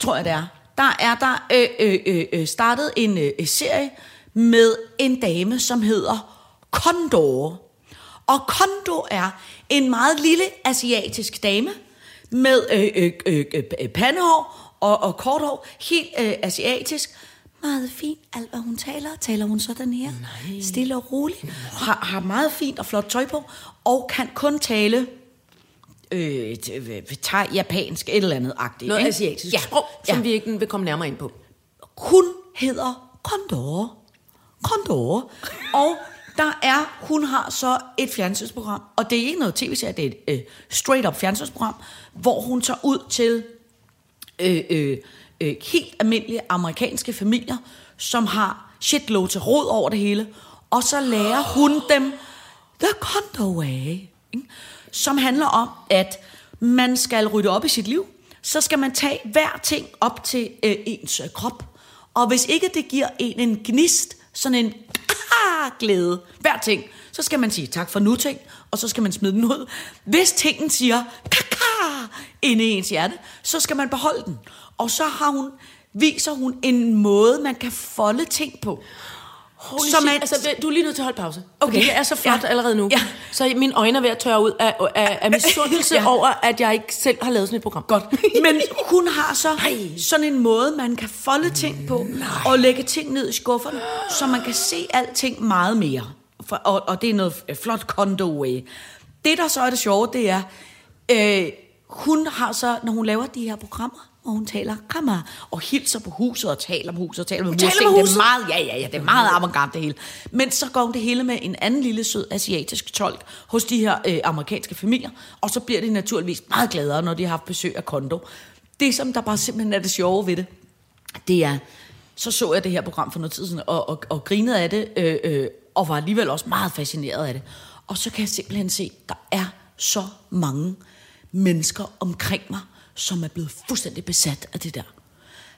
[SPEAKER 4] tror jeg det er, der er der øh, øh, øh, øh, startet en øh, øh, serie med en dame, som hedder Kondor. Og Kondo er en meget lille asiatisk dame med øh, øh, øh, øh, øh, pandehår og, og kort hår, helt øh, asiatisk. Meget fint, alt hvad hun taler, taler hun så den her. Nej. Stille og roligt. Har, har meget fint og flot tøj på, og kan kun tale øh, t- øh, thai, japansk, et eller andet agtigt.
[SPEAKER 3] Noget
[SPEAKER 4] ikke?
[SPEAKER 3] asiatisk
[SPEAKER 4] ja.
[SPEAKER 3] sprog, som
[SPEAKER 4] ja.
[SPEAKER 3] vi ikke vil komme nærmere ind på.
[SPEAKER 4] Hun hedder Kondor. Kondor. og der er, hun har så et fjernsynsprogram, og det er ikke noget tv-serie, det er et øh, straight-up fjernsynsprogram, hvor hun tager ud til øh, øh, øh, helt almindelige amerikanske familier, som har shitload til råd over det hele, og så lærer hun dem The Condo Way, ikke? som handler om, at man skal rydde op i sit liv, så skal man tage hver ting op til øh, ens øh, krop, og hvis ikke det giver en en gnist, sådan en ah, glæde, hver ting, så skal man sige tak for nu ting, og så skal man smide den ud. Hvis tingen siger kaka inde i ens hjerte, så skal man beholde den. Og så har hun, viser hun en måde, man kan folde ting på.
[SPEAKER 3] Holy
[SPEAKER 4] Så
[SPEAKER 3] shit,
[SPEAKER 4] man-
[SPEAKER 3] altså, du er lige nødt til at holde pause.
[SPEAKER 4] Okay.
[SPEAKER 3] Okay. Fordi det er så flot
[SPEAKER 4] Ja.
[SPEAKER 3] ja. allerede nu.
[SPEAKER 4] Ja.
[SPEAKER 3] Ja. Så mine øjne er ved at tørre ud af, af, af misundelse
[SPEAKER 4] Ja.
[SPEAKER 3] ja. over, at jeg ikke selv har lavet sådan et program.
[SPEAKER 4] Godt. Men hun har så sådan en måde, man kan folde ting på, og lægge ting ned i skufferne, så man kan se alting meget mere. for, og, og det er noget øh, flot condo. Øh. Det, der så er det sjove, det er, øh, hun har så, når hun laver de her programmer, og hun taler rammer, og hilser på huset, og taler om huset, og taler med
[SPEAKER 3] taler
[SPEAKER 4] mursten.
[SPEAKER 3] med
[SPEAKER 4] Det er
[SPEAKER 3] huset?
[SPEAKER 4] meget, ja, ja, ja, det er meget avantgarde det hele. Men så går hun det hele med en anden lille sød asiatisk tolk hos de her øh, amerikanske familier, og så bliver de naturligvis meget gladere, når de har haft besøg af Kondo. Det, som der bare simpelthen er det sjove ved det, det er, så så jeg det her program for noget tid siden, og, og, og grinede af det, øh, øh, og var alligevel også meget fascineret af det. Og så kan jeg simpelthen se, der er så mange mennesker omkring mig, som er blevet fuldstændig besat af det der.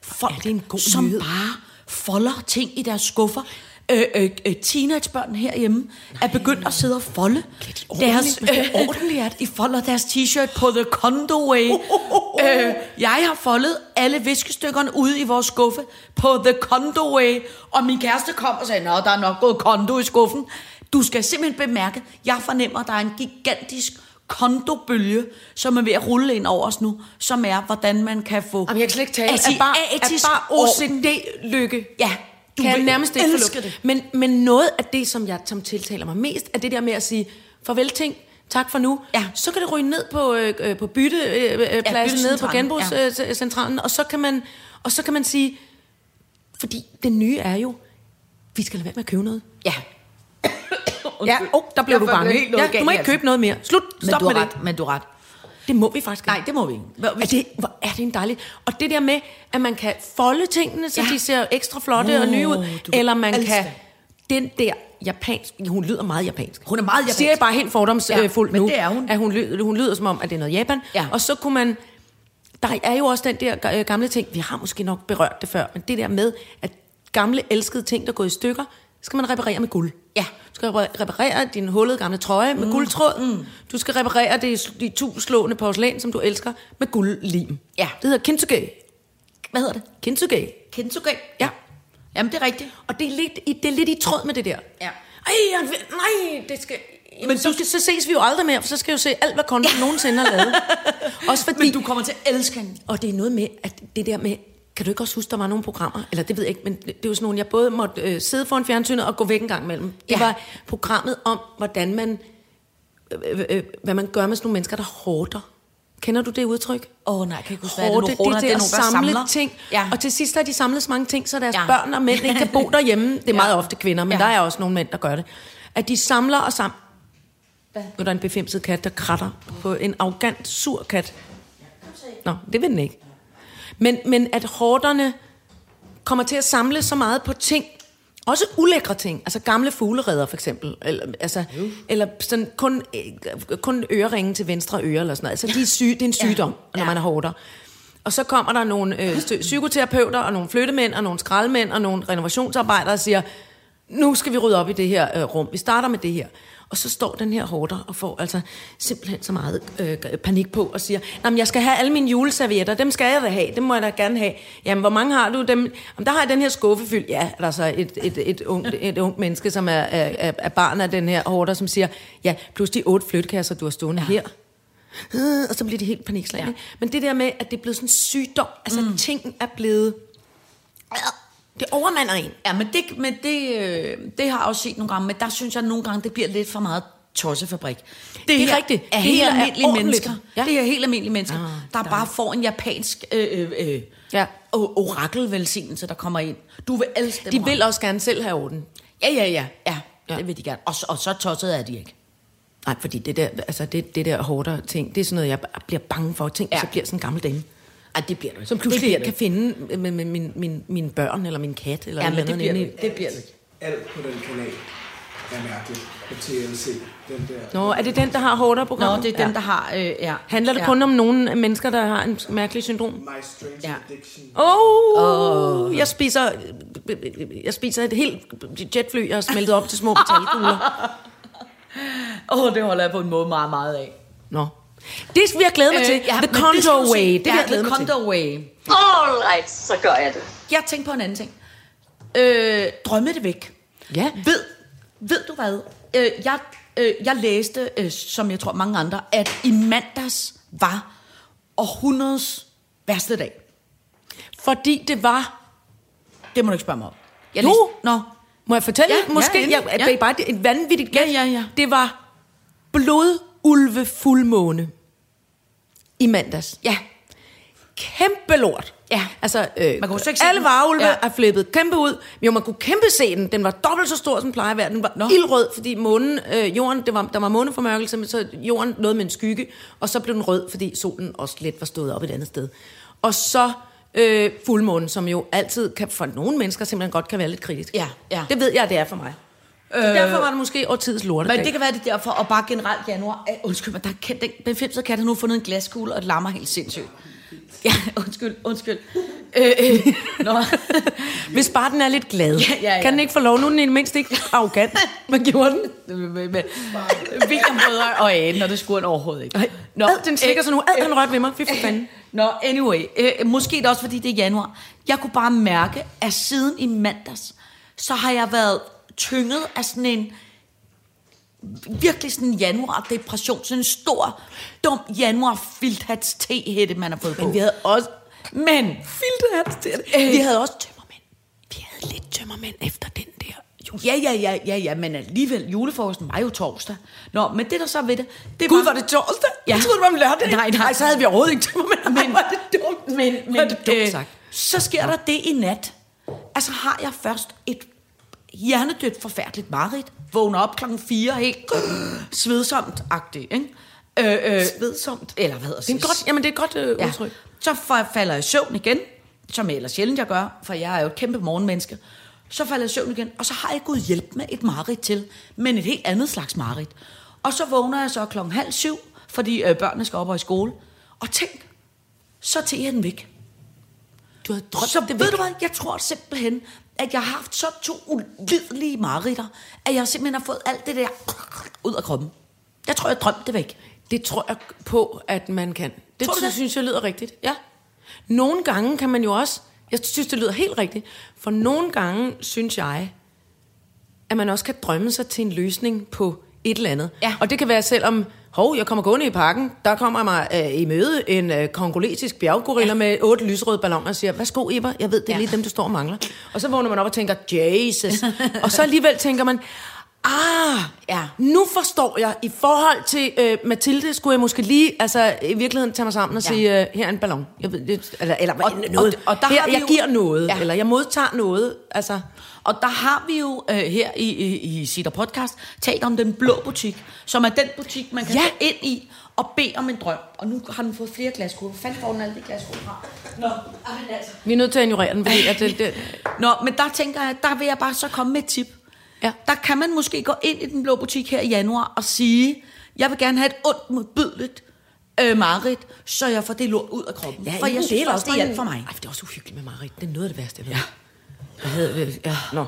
[SPEAKER 4] Folk,
[SPEAKER 3] er det en god
[SPEAKER 4] som
[SPEAKER 3] nyhed.
[SPEAKER 4] bare folder ting i deres skuffer. Øh, øh, øh, teenagebørn herhjemme Nej. er begyndt at sidde og folde
[SPEAKER 3] de
[SPEAKER 4] deres...
[SPEAKER 3] ordentligt? Hvor
[SPEAKER 4] ordentligt er De folder deres t-shirt på The Condo Way. Oh, oh, oh. Øh, jeg har foldet alle viskestykkerne ude i vores skuffe på The Condo Way. Og min kæreste kom og sagde, Nå, der er nok gået kondo i skuffen. Du skal simpelthen bemærke, jeg fornemmer, at der er en gigantisk kondobølge, som er ved at rulle ind over os nu, som er, hvordan man kan få
[SPEAKER 3] Jamen, jeg kan slet ikke tale.
[SPEAKER 4] asiatisk
[SPEAKER 3] Er bare, er bare OCD-lykke.
[SPEAKER 4] Ja,
[SPEAKER 3] Du kan jeg
[SPEAKER 4] vil
[SPEAKER 3] nærmest ikke
[SPEAKER 4] elske
[SPEAKER 3] forlå-
[SPEAKER 4] det.
[SPEAKER 3] Men, men noget af det, som jeg som tiltaler mig mest, er det der med at sige, farvel ting, tak for nu.
[SPEAKER 4] Ja.
[SPEAKER 3] Så kan det ryge ned på, øh, øh, på byttepladsen, øh, pladsen nede på
[SPEAKER 4] byttecentralen,
[SPEAKER 3] genbrugscentralen, øh, centralen, og, så kan man, og så kan man sige, fordi det nye er jo, vi skal lade være med at købe noget.
[SPEAKER 4] Ja.
[SPEAKER 3] Ja, oh, der blev du bange. ja, du må ikke købe noget mere. Slut,
[SPEAKER 4] Men
[SPEAKER 3] stop
[SPEAKER 4] du har
[SPEAKER 3] med det.
[SPEAKER 4] ret, men du har ret.
[SPEAKER 3] Det må vi faktisk
[SPEAKER 4] Nej, det må vi ikke. Hvor-
[SPEAKER 3] Er det, hvor er det en dejlig... Og det der med, at man kan folde tingene, så ja.
[SPEAKER 4] Ja.
[SPEAKER 3] de ser ekstra flotte
[SPEAKER 4] Åh,
[SPEAKER 3] og nye ud.
[SPEAKER 4] du vil
[SPEAKER 3] Eller man
[SPEAKER 4] elske
[SPEAKER 3] kan...
[SPEAKER 4] det.
[SPEAKER 3] Den der japansk... Hun lyder meget japansk.
[SPEAKER 4] Hun er meget japansk.
[SPEAKER 3] Siger jeg bare helt fordomsfuldt
[SPEAKER 4] Ja, men
[SPEAKER 3] nu.
[SPEAKER 4] det er hun.
[SPEAKER 3] At hun, lyder, hun lyder som om, at det er noget Japan.
[SPEAKER 4] Ja.
[SPEAKER 3] Og så kunne man... Der er jo også den der øh, gamle ting, vi har måske nok berørt det før, men det der med, at gamle elskede ting, der går i stykker, skal man reparere med guld.
[SPEAKER 4] Ja.
[SPEAKER 3] Du skal repar- reparere din hullede gamle trøje med mm. guldtråd. Mm. Du skal reparere det, de tuslående porcelæn, som du elsker, med guldlim.
[SPEAKER 4] Ja.
[SPEAKER 3] Det hedder kintsugi.
[SPEAKER 4] Hvad hedder det?
[SPEAKER 3] Kintsugi.
[SPEAKER 4] Kintsugi.
[SPEAKER 3] Ja.
[SPEAKER 4] Jamen, det er rigtigt.
[SPEAKER 3] Og det er lidt i, det er lidt i tråd med det der.
[SPEAKER 4] Ja.
[SPEAKER 3] Ej, jeg vil- nej, det skal... Jamen, Men så, skal, så ses vi jo aldrig mere, for så skal jeg jo se alt, hvad Kondo ja. nogensinde har lavet. Også fordi...
[SPEAKER 4] Men du kommer til at elske hende.
[SPEAKER 3] Og det er noget med, at det der med, kan du ikke også huske, der var nogle programmer, eller det ved jeg ikke, men det er jo sådan nogle, jeg både måtte øh, sidde foran fjernsynet og gå væk en gang imellem. Det
[SPEAKER 4] Ja.
[SPEAKER 3] var programmet om, hvordan man, øh, øh, øh, hvad man gør med sådan nogle mennesker, der hårder. Kender du det udtryk?
[SPEAKER 4] Åh oh, nej, jeg kan ikke huske, hvad er
[SPEAKER 3] Hårde,
[SPEAKER 4] det
[SPEAKER 3] det,
[SPEAKER 4] nu? Roder,
[SPEAKER 3] er det,
[SPEAKER 4] det er
[SPEAKER 3] at
[SPEAKER 4] nogen, der
[SPEAKER 3] samle
[SPEAKER 4] samler.
[SPEAKER 3] ting.
[SPEAKER 4] Ja.
[SPEAKER 3] Og til sidst har de samlet så mange ting, så deres
[SPEAKER 4] Ja.
[SPEAKER 3] ja. børn og mænd ikke kan bo derhjemme. Det er meget ofte kvinder, men
[SPEAKER 4] Ja.
[SPEAKER 3] ja. der er også nogle mænd, der gør det. At de samler og samler. Nu er der en befimset kat, der kratter på en arrogant, sur kat. Nå, det vil den ikke. Men, men at hårderne kommer til at samle så meget på ting, også ulækre ting, altså gamle fugleredder for eksempel, eller, altså, eller sådan kun, øh, kun øreringen til venstre øre eller sådan noget. Altså de er syge, det er en sygdom, ja. når man er hårder. Og så kommer der nogle øh, stø- psykoterapeuter, og nogle flyttemænd, og nogle skraldemænd, og nogle renovationsarbejdere og siger, nu skal vi rydde op i det her øh, rum, vi starter med det her. Og så står den her hårder og får altså simpelthen så meget øh, panik på og siger, jamen jeg skal have alle mine juleservietter, dem skal jeg da have, dem må jeg da gerne have. Jamen hvor mange har du? Dem? Jamen, der har jeg den her skuffe fyldt. Ja, er der så et, et, et, ungt, et ungt menneske, som er, er, er- er barn af den her hårder, som siger, ja, plus de otte flytkasser, du har stående ja. her. Øh, og så bliver de helt panikslagende. Ja. Men det der med, at det er blevet sådan en sygdom, altså mm. ting er blevet... Det overmander en.
[SPEAKER 4] Ja, men det, men det, øh, det har jeg også set nogle gange, men der synes jeg nogle gange, det bliver lidt for meget tossefabrik. Det,
[SPEAKER 3] er
[SPEAKER 4] her
[SPEAKER 3] rigtigt.
[SPEAKER 4] Er
[SPEAKER 3] Det
[SPEAKER 4] helt
[SPEAKER 3] her er
[SPEAKER 4] almindelige
[SPEAKER 3] ordentligt.
[SPEAKER 4] mennesker. Ja.
[SPEAKER 3] Ja.
[SPEAKER 4] Det er helt almindelige mennesker, ah,
[SPEAKER 3] Ah,
[SPEAKER 4] der bare får en japansk øh, øh, ja.
[SPEAKER 3] Ja.
[SPEAKER 4] orakelvelsignelse, der kommer ind. Du vil elske dem.
[SPEAKER 3] De
[SPEAKER 4] Rand.
[SPEAKER 3] vil også gerne selv have orden.
[SPEAKER 4] Ja, ja, ja. ja, ja.
[SPEAKER 3] Ja.
[SPEAKER 4] Det vil de gerne. Og, så- og så tosset er de ikke.
[SPEAKER 3] Nej, fordi det der, altså det, det der hårdere ting, det er sådan noget, jeg b- bliver bange for. Tænk,
[SPEAKER 4] Ja.
[SPEAKER 3] ja. så bliver sådan en gammel dame,
[SPEAKER 4] Ej, det bliver du ikke.
[SPEAKER 3] som pludselig ikke kan finde med, med min, min, mine børn eller min kat eller
[SPEAKER 4] Ja,
[SPEAKER 3] et
[SPEAKER 4] men
[SPEAKER 3] eller andet.
[SPEAKER 4] det bliver du
[SPEAKER 3] inde i-
[SPEAKER 4] ikke. Det bliver du ikke.
[SPEAKER 5] alt på den kanal er mærkeligt på TLC. Den der.
[SPEAKER 3] Nå, er det den, der har hårdere
[SPEAKER 4] Nå,
[SPEAKER 3] programmer?
[SPEAKER 4] det er dem, der har... Øh, ja.
[SPEAKER 3] Handler det
[SPEAKER 4] ja.
[SPEAKER 3] kun om nogle mennesker, der har en mærkelig syndrom?
[SPEAKER 5] My Strange
[SPEAKER 4] Ja.
[SPEAKER 5] Addiction.
[SPEAKER 3] Åh, oh, oh. jeg spiser jeg spiser et helt jetfly, jeg har smeltet op til små metalkugler.
[SPEAKER 4] Åh, oh, det holder jeg på en måde meget, meget af.
[SPEAKER 3] Nå. Det vil jeg glæde mig øh, til. the Condo Way. Det vil
[SPEAKER 4] ja,
[SPEAKER 3] jeg glæde
[SPEAKER 4] The
[SPEAKER 3] mig til.
[SPEAKER 4] Condo Way.
[SPEAKER 2] All right, så gør jeg det.
[SPEAKER 4] Jeg tænkte på en anden ting. Øh, drømme det væk.
[SPEAKER 3] Ja.
[SPEAKER 4] Ved, ved du hvad? Øh, jeg, øh, jeg læste, øh, som jeg tror mange andre, at i mandags var århundredes værste dag.
[SPEAKER 3] Fordi det var...
[SPEAKER 4] Det må du ikke spørge mig om. Jeg
[SPEAKER 3] Jo.
[SPEAKER 4] Læste, nå,
[SPEAKER 3] Må jeg fortælle?
[SPEAKER 4] Ja, ja,
[SPEAKER 3] Måske,
[SPEAKER 4] endelig.
[SPEAKER 3] jeg,
[SPEAKER 4] Ja.
[SPEAKER 3] det er bare et vanvittigt gæt.
[SPEAKER 4] Ja, ja, ja.
[SPEAKER 3] Det var blodulve fuldmåne i mandags.
[SPEAKER 4] Ja.
[SPEAKER 3] Kæmpe lort.
[SPEAKER 4] Ja.
[SPEAKER 3] Altså, øh,
[SPEAKER 4] Man kunne slet ikke se
[SPEAKER 3] alle
[SPEAKER 4] den.
[SPEAKER 3] varulve
[SPEAKER 4] Ja.
[SPEAKER 3] ja. er flippet kæmpe ud. Jo, man kunne kæmpe se den. Den var dobbelt så stor, som den plejer at være. Den var Nå. ildrød, fordi månen, øh, jorden, det var, der var måneformørkelse, men så jorden nåede med en skygge, og så blev den rød, fordi solen også lidt var stået op et andet sted. Og så øh, fuldmånen, som jo altid kan, for nogle mennesker simpelthen godt kan være lidt kritisk.
[SPEAKER 4] Ja, ja.
[SPEAKER 3] Det ved jeg, det er for mig. Øh, så derfor var det måske årtidets lortedag.
[SPEAKER 4] Men det kan være det er derfor, og bare generelt januar. Øh, undskyld mig, der er, kendt- den, den femte kat har nu fundet en glaskugle, og det lammer helt sindssygt. Ja, undskyld, undskyld. Øh, øh, nå.
[SPEAKER 3] Hvis bare den er lidt glad. Ja,
[SPEAKER 4] ja, ja.
[SPEAKER 3] Kan den ikke få lov? Nu er den i det mindste ikke arrogant. Hvad gjorde den?
[SPEAKER 4] med, med, med vinkerbrødre og anen, og det skulle han overhovedet ikke.
[SPEAKER 3] Nå, Ad, den slikker
[SPEAKER 4] øh,
[SPEAKER 3] sig nu. Ad, han rørte ved mig. Fy for fanden.
[SPEAKER 4] Nå, anyway. Øh, måske det også, fordi det er januar. Jeg kunne bare mærke, at siden i mandags, så har jeg været tynget af sådan en virkelig sådan en januar-depression. Sådan en stor, dum januar filthats tehætte man har fået på.
[SPEAKER 3] Men vi havde også...
[SPEAKER 4] Men, Øh,
[SPEAKER 3] Filterhats til det. Vi havde også tømmermænd. Vi havde lidt tømmermænd efter den der jul.
[SPEAKER 4] ja, ja, ja, ja, ja, men alligevel, julefrokosten var jo torsdag. Nå, men det der så ved det, det
[SPEAKER 3] Gud, var det torsdag?
[SPEAKER 4] Ja.
[SPEAKER 3] Jeg troede, det var om lørdag.
[SPEAKER 4] Nej, nej.
[SPEAKER 3] så havde vi overhovedet ikke tømmermænd. Men, var det dumt.
[SPEAKER 4] Men, men
[SPEAKER 3] var det dumt øh, sagt.
[SPEAKER 4] så sker der det i nat. Altså har jeg først et hjernedødt forfærdeligt mareridt. Vågner op klokken 4 helt svedsomt-agtigt, ikke? Øh, øh, svedsomt? Eller hvad hedder
[SPEAKER 3] Det er en godt, jamen, det er et godt øh,
[SPEAKER 4] ja.
[SPEAKER 3] udtryk.
[SPEAKER 4] Så fa- falder jeg i søvn igen, som jeg ellers sjældent jeg gør, for jeg er jo et kæmpe morgenmenneske. Så falder jeg i søvn igen, og så har jeg gået hjælp med et mareridt til, men et helt andet slags mareridt. Og så vågner jeg så klokken halv syv, fordi øh, børnene skal op og i skole. Og tænk, så tager jeg den væk.
[SPEAKER 3] Du havde drømt
[SPEAKER 4] Så ved du hvad, jeg tror simpelthen, at jeg har haft så to ulidelige mareritter, at jeg simpelthen har fået alt det der ud af kroppen. Jeg tror, jeg drømte det væk.
[SPEAKER 3] Det tror jeg på, at man kan. Det,
[SPEAKER 4] Tror du
[SPEAKER 3] tror, det?
[SPEAKER 4] det?
[SPEAKER 3] synes jeg lyder rigtigt. Ja. Nogle gange kan man jo også... Jeg synes, det lyder helt rigtigt. For nogle gange synes jeg, at man også kan drømme sig til en løsning på et eller andet.
[SPEAKER 4] Ja.
[SPEAKER 3] Og det kan være selvom, hov, jeg kommer gående i parken, der kommer mig øh, i møde en øh, kongolesisk bjerggorilla ja. med otte lysrøde balloner og siger, værsgo Eva, jeg ved, det er ja.
[SPEAKER 4] Ja.
[SPEAKER 3] lige dem, du står og mangler. Og så vågner man op og tænker, Jesus. og så alligevel tænker man, ah,
[SPEAKER 4] Ja.
[SPEAKER 3] nu forstår jeg, i forhold til øh, Mathilde, skulle jeg måske lige altså, i virkeligheden tage mig sammen og ja.
[SPEAKER 4] Ja.
[SPEAKER 3] sige, øh, her er en ballon. Jeg ved, det, eller, eller
[SPEAKER 4] Og-
[SPEAKER 3] og, noget.
[SPEAKER 4] og- og der
[SPEAKER 3] her,
[SPEAKER 4] har vi
[SPEAKER 3] jeg
[SPEAKER 4] jo-
[SPEAKER 3] giver noget,
[SPEAKER 4] Ja.
[SPEAKER 3] ja. eller jeg modtager noget. Altså,
[SPEAKER 4] Og der har vi jo øh, her i, i, i Sitter Podcast talt om den blå butik, som er den butik, man kan ja.
[SPEAKER 3] Ja.
[SPEAKER 4] gå ind i og bede om en drøm. Og nu har den fået flere glaskugler. Hvor fanden får den alle de glaskugler fra? Nå, ej, men altså.
[SPEAKER 3] vi er nødt til at ignorere den, fordi at det, det,
[SPEAKER 4] Nå, men der tænker jeg, der vil jeg bare så komme med et tip.
[SPEAKER 3] Ja.
[SPEAKER 4] Der kan man måske gå ind i den blå butik her i januar og sige, jeg vil gerne have et ondt modbydeligt øh, mareridt, så jeg får det lort ud af kroppen. for jeg
[SPEAKER 3] ingen
[SPEAKER 4] synes
[SPEAKER 3] del
[SPEAKER 4] også, det
[SPEAKER 3] man-
[SPEAKER 4] hjælper for mig.
[SPEAKER 3] Ej, det er også uhyggeligt med Marit. Det er noget af det værste, jeg ved. Ja. Jeg havde, øh, ja, nå.
[SPEAKER 4] Øh,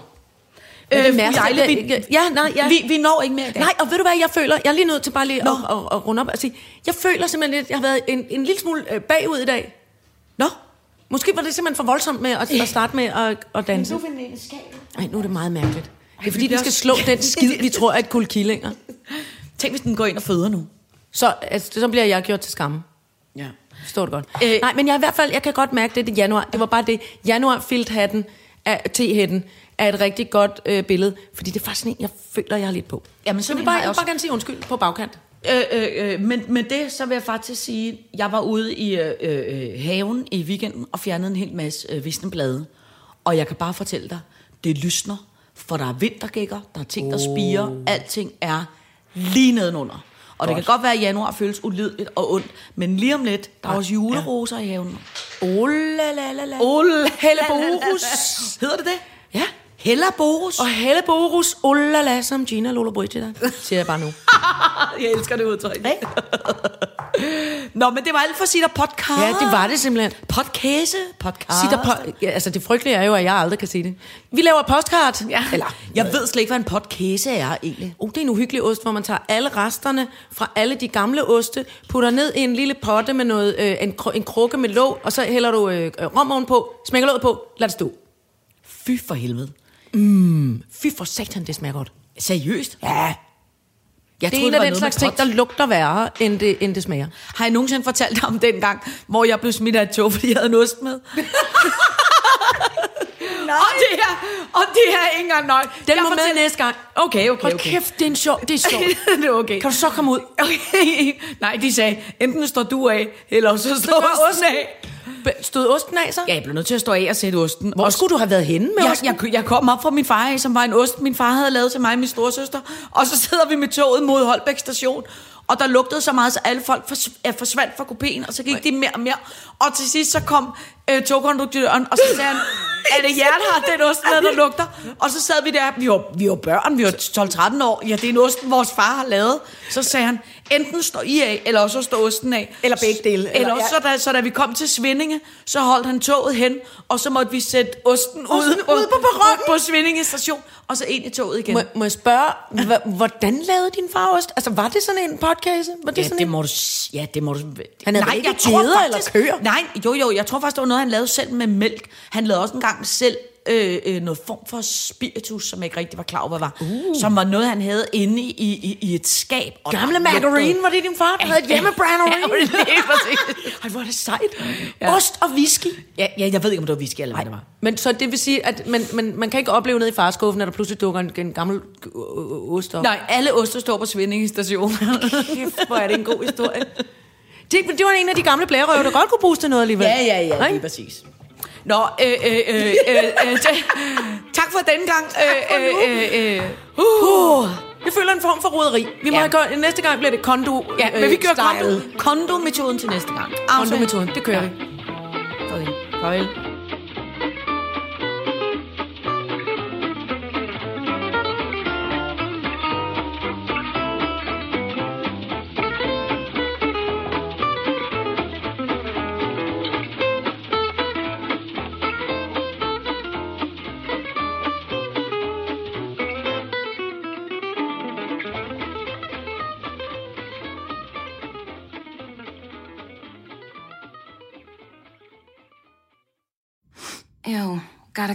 [SPEAKER 3] Men det
[SPEAKER 4] fru
[SPEAKER 3] mærker jeg
[SPEAKER 4] Jejle,
[SPEAKER 3] ikke. Ja, nej, ja.
[SPEAKER 4] Vi, vi når ikke mere i dag.
[SPEAKER 3] Nej, og ved du hvad, jeg føler, jeg er lige nødt til bare lige at,
[SPEAKER 4] Nå.
[SPEAKER 3] at, at, runde op og sige, jeg føler simpelthen lidt, jeg har været en, en lille smule øh, bagud i dag. Nå, måske var det simpelthen for voldsomt med at, at starte med at, at danse.
[SPEAKER 4] Nu finder den i skabet.
[SPEAKER 3] Nej, nu er det meget mærkeligt. Det er fordi,
[SPEAKER 4] vi
[SPEAKER 3] vi
[SPEAKER 4] bliver
[SPEAKER 3] skal
[SPEAKER 4] også-
[SPEAKER 3] slå den skid, vi tror er et kul killinger.
[SPEAKER 4] Tænk, hvis den går ind og føder nu.
[SPEAKER 3] Så, altså, så bliver jeg gjort til skamme.
[SPEAKER 4] Ja.
[SPEAKER 3] Forstår du godt?
[SPEAKER 4] Øh,
[SPEAKER 3] Øh, Nej, men jeg i hvert fald, jeg kan godt mærke det i januar. Det var bare det. Januar filthatten, af tehætten, er et rigtig godt øh, billede, fordi det er faktisk sådan en, jeg føler, jeg har lidt på.
[SPEAKER 4] Jamen,
[SPEAKER 3] Så jeg
[SPEAKER 4] sådan
[SPEAKER 3] vil
[SPEAKER 4] en
[SPEAKER 3] bare,
[SPEAKER 4] har
[SPEAKER 3] jeg
[SPEAKER 4] jeg
[SPEAKER 3] vil
[SPEAKER 4] også.
[SPEAKER 3] bare gerne sige undskyld på bagkant.
[SPEAKER 4] Øh, øh, øh, men med det, så vil jeg faktisk sige, jeg var ude i øh, øh, haven i weekenden og fjernede en hel masse øh, visne blade. Og jeg kan bare fortælle dig, det lysner, for der er vintergækker, der er ting, der spiger, alting er lige nedenunder. Og det kan Oh. godt være, at januar føles ulideligt og ondt, men lige om lidt, der er også juleroser i haven.
[SPEAKER 3] Olalalalala.
[SPEAKER 4] Ole,
[SPEAKER 3] Helleborus.
[SPEAKER 4] Hedder det det?
[SPEAKER 3] Ja.
[SPEAKER 4] Hellaborus.
[SPEAKER 3] Og Helleborus, olala, som Gina Lola Brigida, siger jeg bare nu.
[SPEAKER 4] Jeg elsker det udtryk. Nå, men det var alt for Sitter Podcast.
[SPEAKER 3] Ja, det var det simpelthen.
[SPEAKER 4] Podcast. Podcast.
[SPEAKER 3] Sig der po- ja, altså det frygtelige er jo, at jeg aldrig kan sige det. Vi laver postkart. Ja. Eller,
[SPEAKER 4] Jeg ved slet ikke, hvad en podcast er egentlig.
[SPEAKER 3] oh, det er en uhyggelig ost, hvor man tager alle resterne fra alle de gamle oste, putter ned i en lille potte med noget, øh, en, kru- en krukke med låg, og så hælder du øh, øh, rom ovenpå, smækker låget på, lad det stå.
[SPEAKER 4] Fy for helvede.
[SPEAKER 3] Fy for satan, det smager godt.
[SPEAKER 4] Seriøst?
[SPEAKER 3] Ja. Jeg det er
[SPEAKER 4] troede,
[SPEAKER 3] en
[SPEAKER 4] det
[SPEAKER 3] af
[SPEAKER 4] var
[SPEAKER 3] den
[SPEAKER 4] noget
[SPEAKER 3] slags
[SPEAKER 4] med
[SPEAKER 3] ting,
[SPEAKER 4] pot.
[SPEAKER 3] der lugter værre, end det, end det smager.
[SPEAKER 4] Har jeg nogensinde fortalt dig om den gang, hvor jeg blev smidt af et tog, fordi jeg havde en ost med? Og det er, og det er ikke engang nøj.
[SPEAKER 3] Den må med næste gang.
[SPEAKER 4] Okay, okay,
[SPEAKER 3] Hold
[SPEAKER 4] okay.
[SPEAKER 3] kæft, det er en sjov, det er sjovt.
[SPEAKER 4] det er okay.
[SPEAKER 3] kan du så komme ud?
[SPEAKER 4] Okay. Nej, de sagde, enten står du af, eller så står
[SPEAKER 3] står
[SPEAKER 4] osten af.
[SPEAKER 3] B- Stod osten af så?
[SPEAKER 4] Ja, jeg blev nødt til at stå af og sætte osten.
[SPEAKER 3] Hvor skulle du have været henne med
[SPEAKER 4] jeg,
[SPEAKER 3] osten?
[SPEAKER 4] jeg, jeg kom op fra min far af, som var en ost, min far havde lavet til mig og min storesøster. Og så sidder vi med toget mod Holbæk station, og der lugtede så meget, så alle folk fors, øh, forsvandt fra kopien, og så gik de mere og mere. Og til sidst så kom øh, togkonduktøren, og så sagde han, er det jer, der har den ost med, der lugter? Og så sad vi der, vi var, vi var børn, vi var 12-13 år, ja, det er en ost, vores far har lavet. Så sagde han, enten står I af, eller også står osten af.
[SPEAKER 3] Eller begge dele, eller-
[SPEAKER 4] Eller, eller også, så, da, så da vi kom til Svindinge, så holdt han toget hen, og så måtte vi sætte osten ud,
[SPEAKER 3] Osten ude på perronen.
[SPEAKER 4] på Svindinge station, og så ind i toget igen.
[SPEAKER 3] Må, må jeg spørge, hva- hvordan lavede din far ost? Altså, var det sådan en podcast? Var det
[SPEAKER 4] ja,
[SPEAKER 3] sådan
[SPEAKER 4] det
[SPEAKER 3] en...
[SPEAKER 4] må du... s- Ja, det må du...
[SPEAKER 3] Han havde vel ikke geder eller køer?
[SPEAKER 4] Nej, jo, jo, jeg tror faktisk, det var noget, han lavede selv med mælk. Han lavede også engang selv øh, øh, noget form for spiritus, som jeg ikke rigtig var klar over, hvad var. Uh. Som var noget, han havde inde i, i, i et skab. Og
[SPEAKER 3] Gamle
[SPEAKER 4] der lugtede-
[SPEAKER 3] margarine, var det din far, der havde et hjemmebranderine?
[SPEAKER 4] Ja, lige præcis.
[SPEAKER 3] Ej, hvor er det sejt.
[SPEAKER 4] Ja.
[SPEAKER 3] Ost og whisky.
[SPEAKER 4] ja, ja, jeg ved ikke, om det var whisky eller hvad det var.
[SPEAKER 3] Men så det vil sige, at man, man, man kan ikke opleve nede i farskuffen, at der pludselig dukker en, en gammel øh, øh, ost op.
[SPEAKER 4] Nej, alle oster står på Svindinge station.
[SPEAKER 3] Kæft, hvor er det en god historie. Det, det var en af de gamle blærerøve, der godt kunne bruges til noget alligevel.
[SPEAKER 4] Ja, ja, ja,
[SPEAKER 3] Nej?
[SPEAKER 4] lige præcis. Nå, øh, øh, øh, øh, øh, t- tak for den gang. Øh, øh, øh, øh.
[SPEAKER 3] Uh, jeg føler en form for roderi. Vi må
[SPEAKER 4] Ja.
[SPEAKER 3] ja. gøre, næste gang bliver det kondo øh,
[SPEAKER 4] Ja, men vi kører kondo,
[SPEAKER 3] style.
[SPEAKER 4] kondometoden til næste gang.
[SPEAKER 3] Kondometoden, det kører
[SPEAKER 4] Ja.
[SPEAKER 3] vi.
[SPEAKER 4] Farvel. Farvel.
[SPEAKER 6] Ew, gotta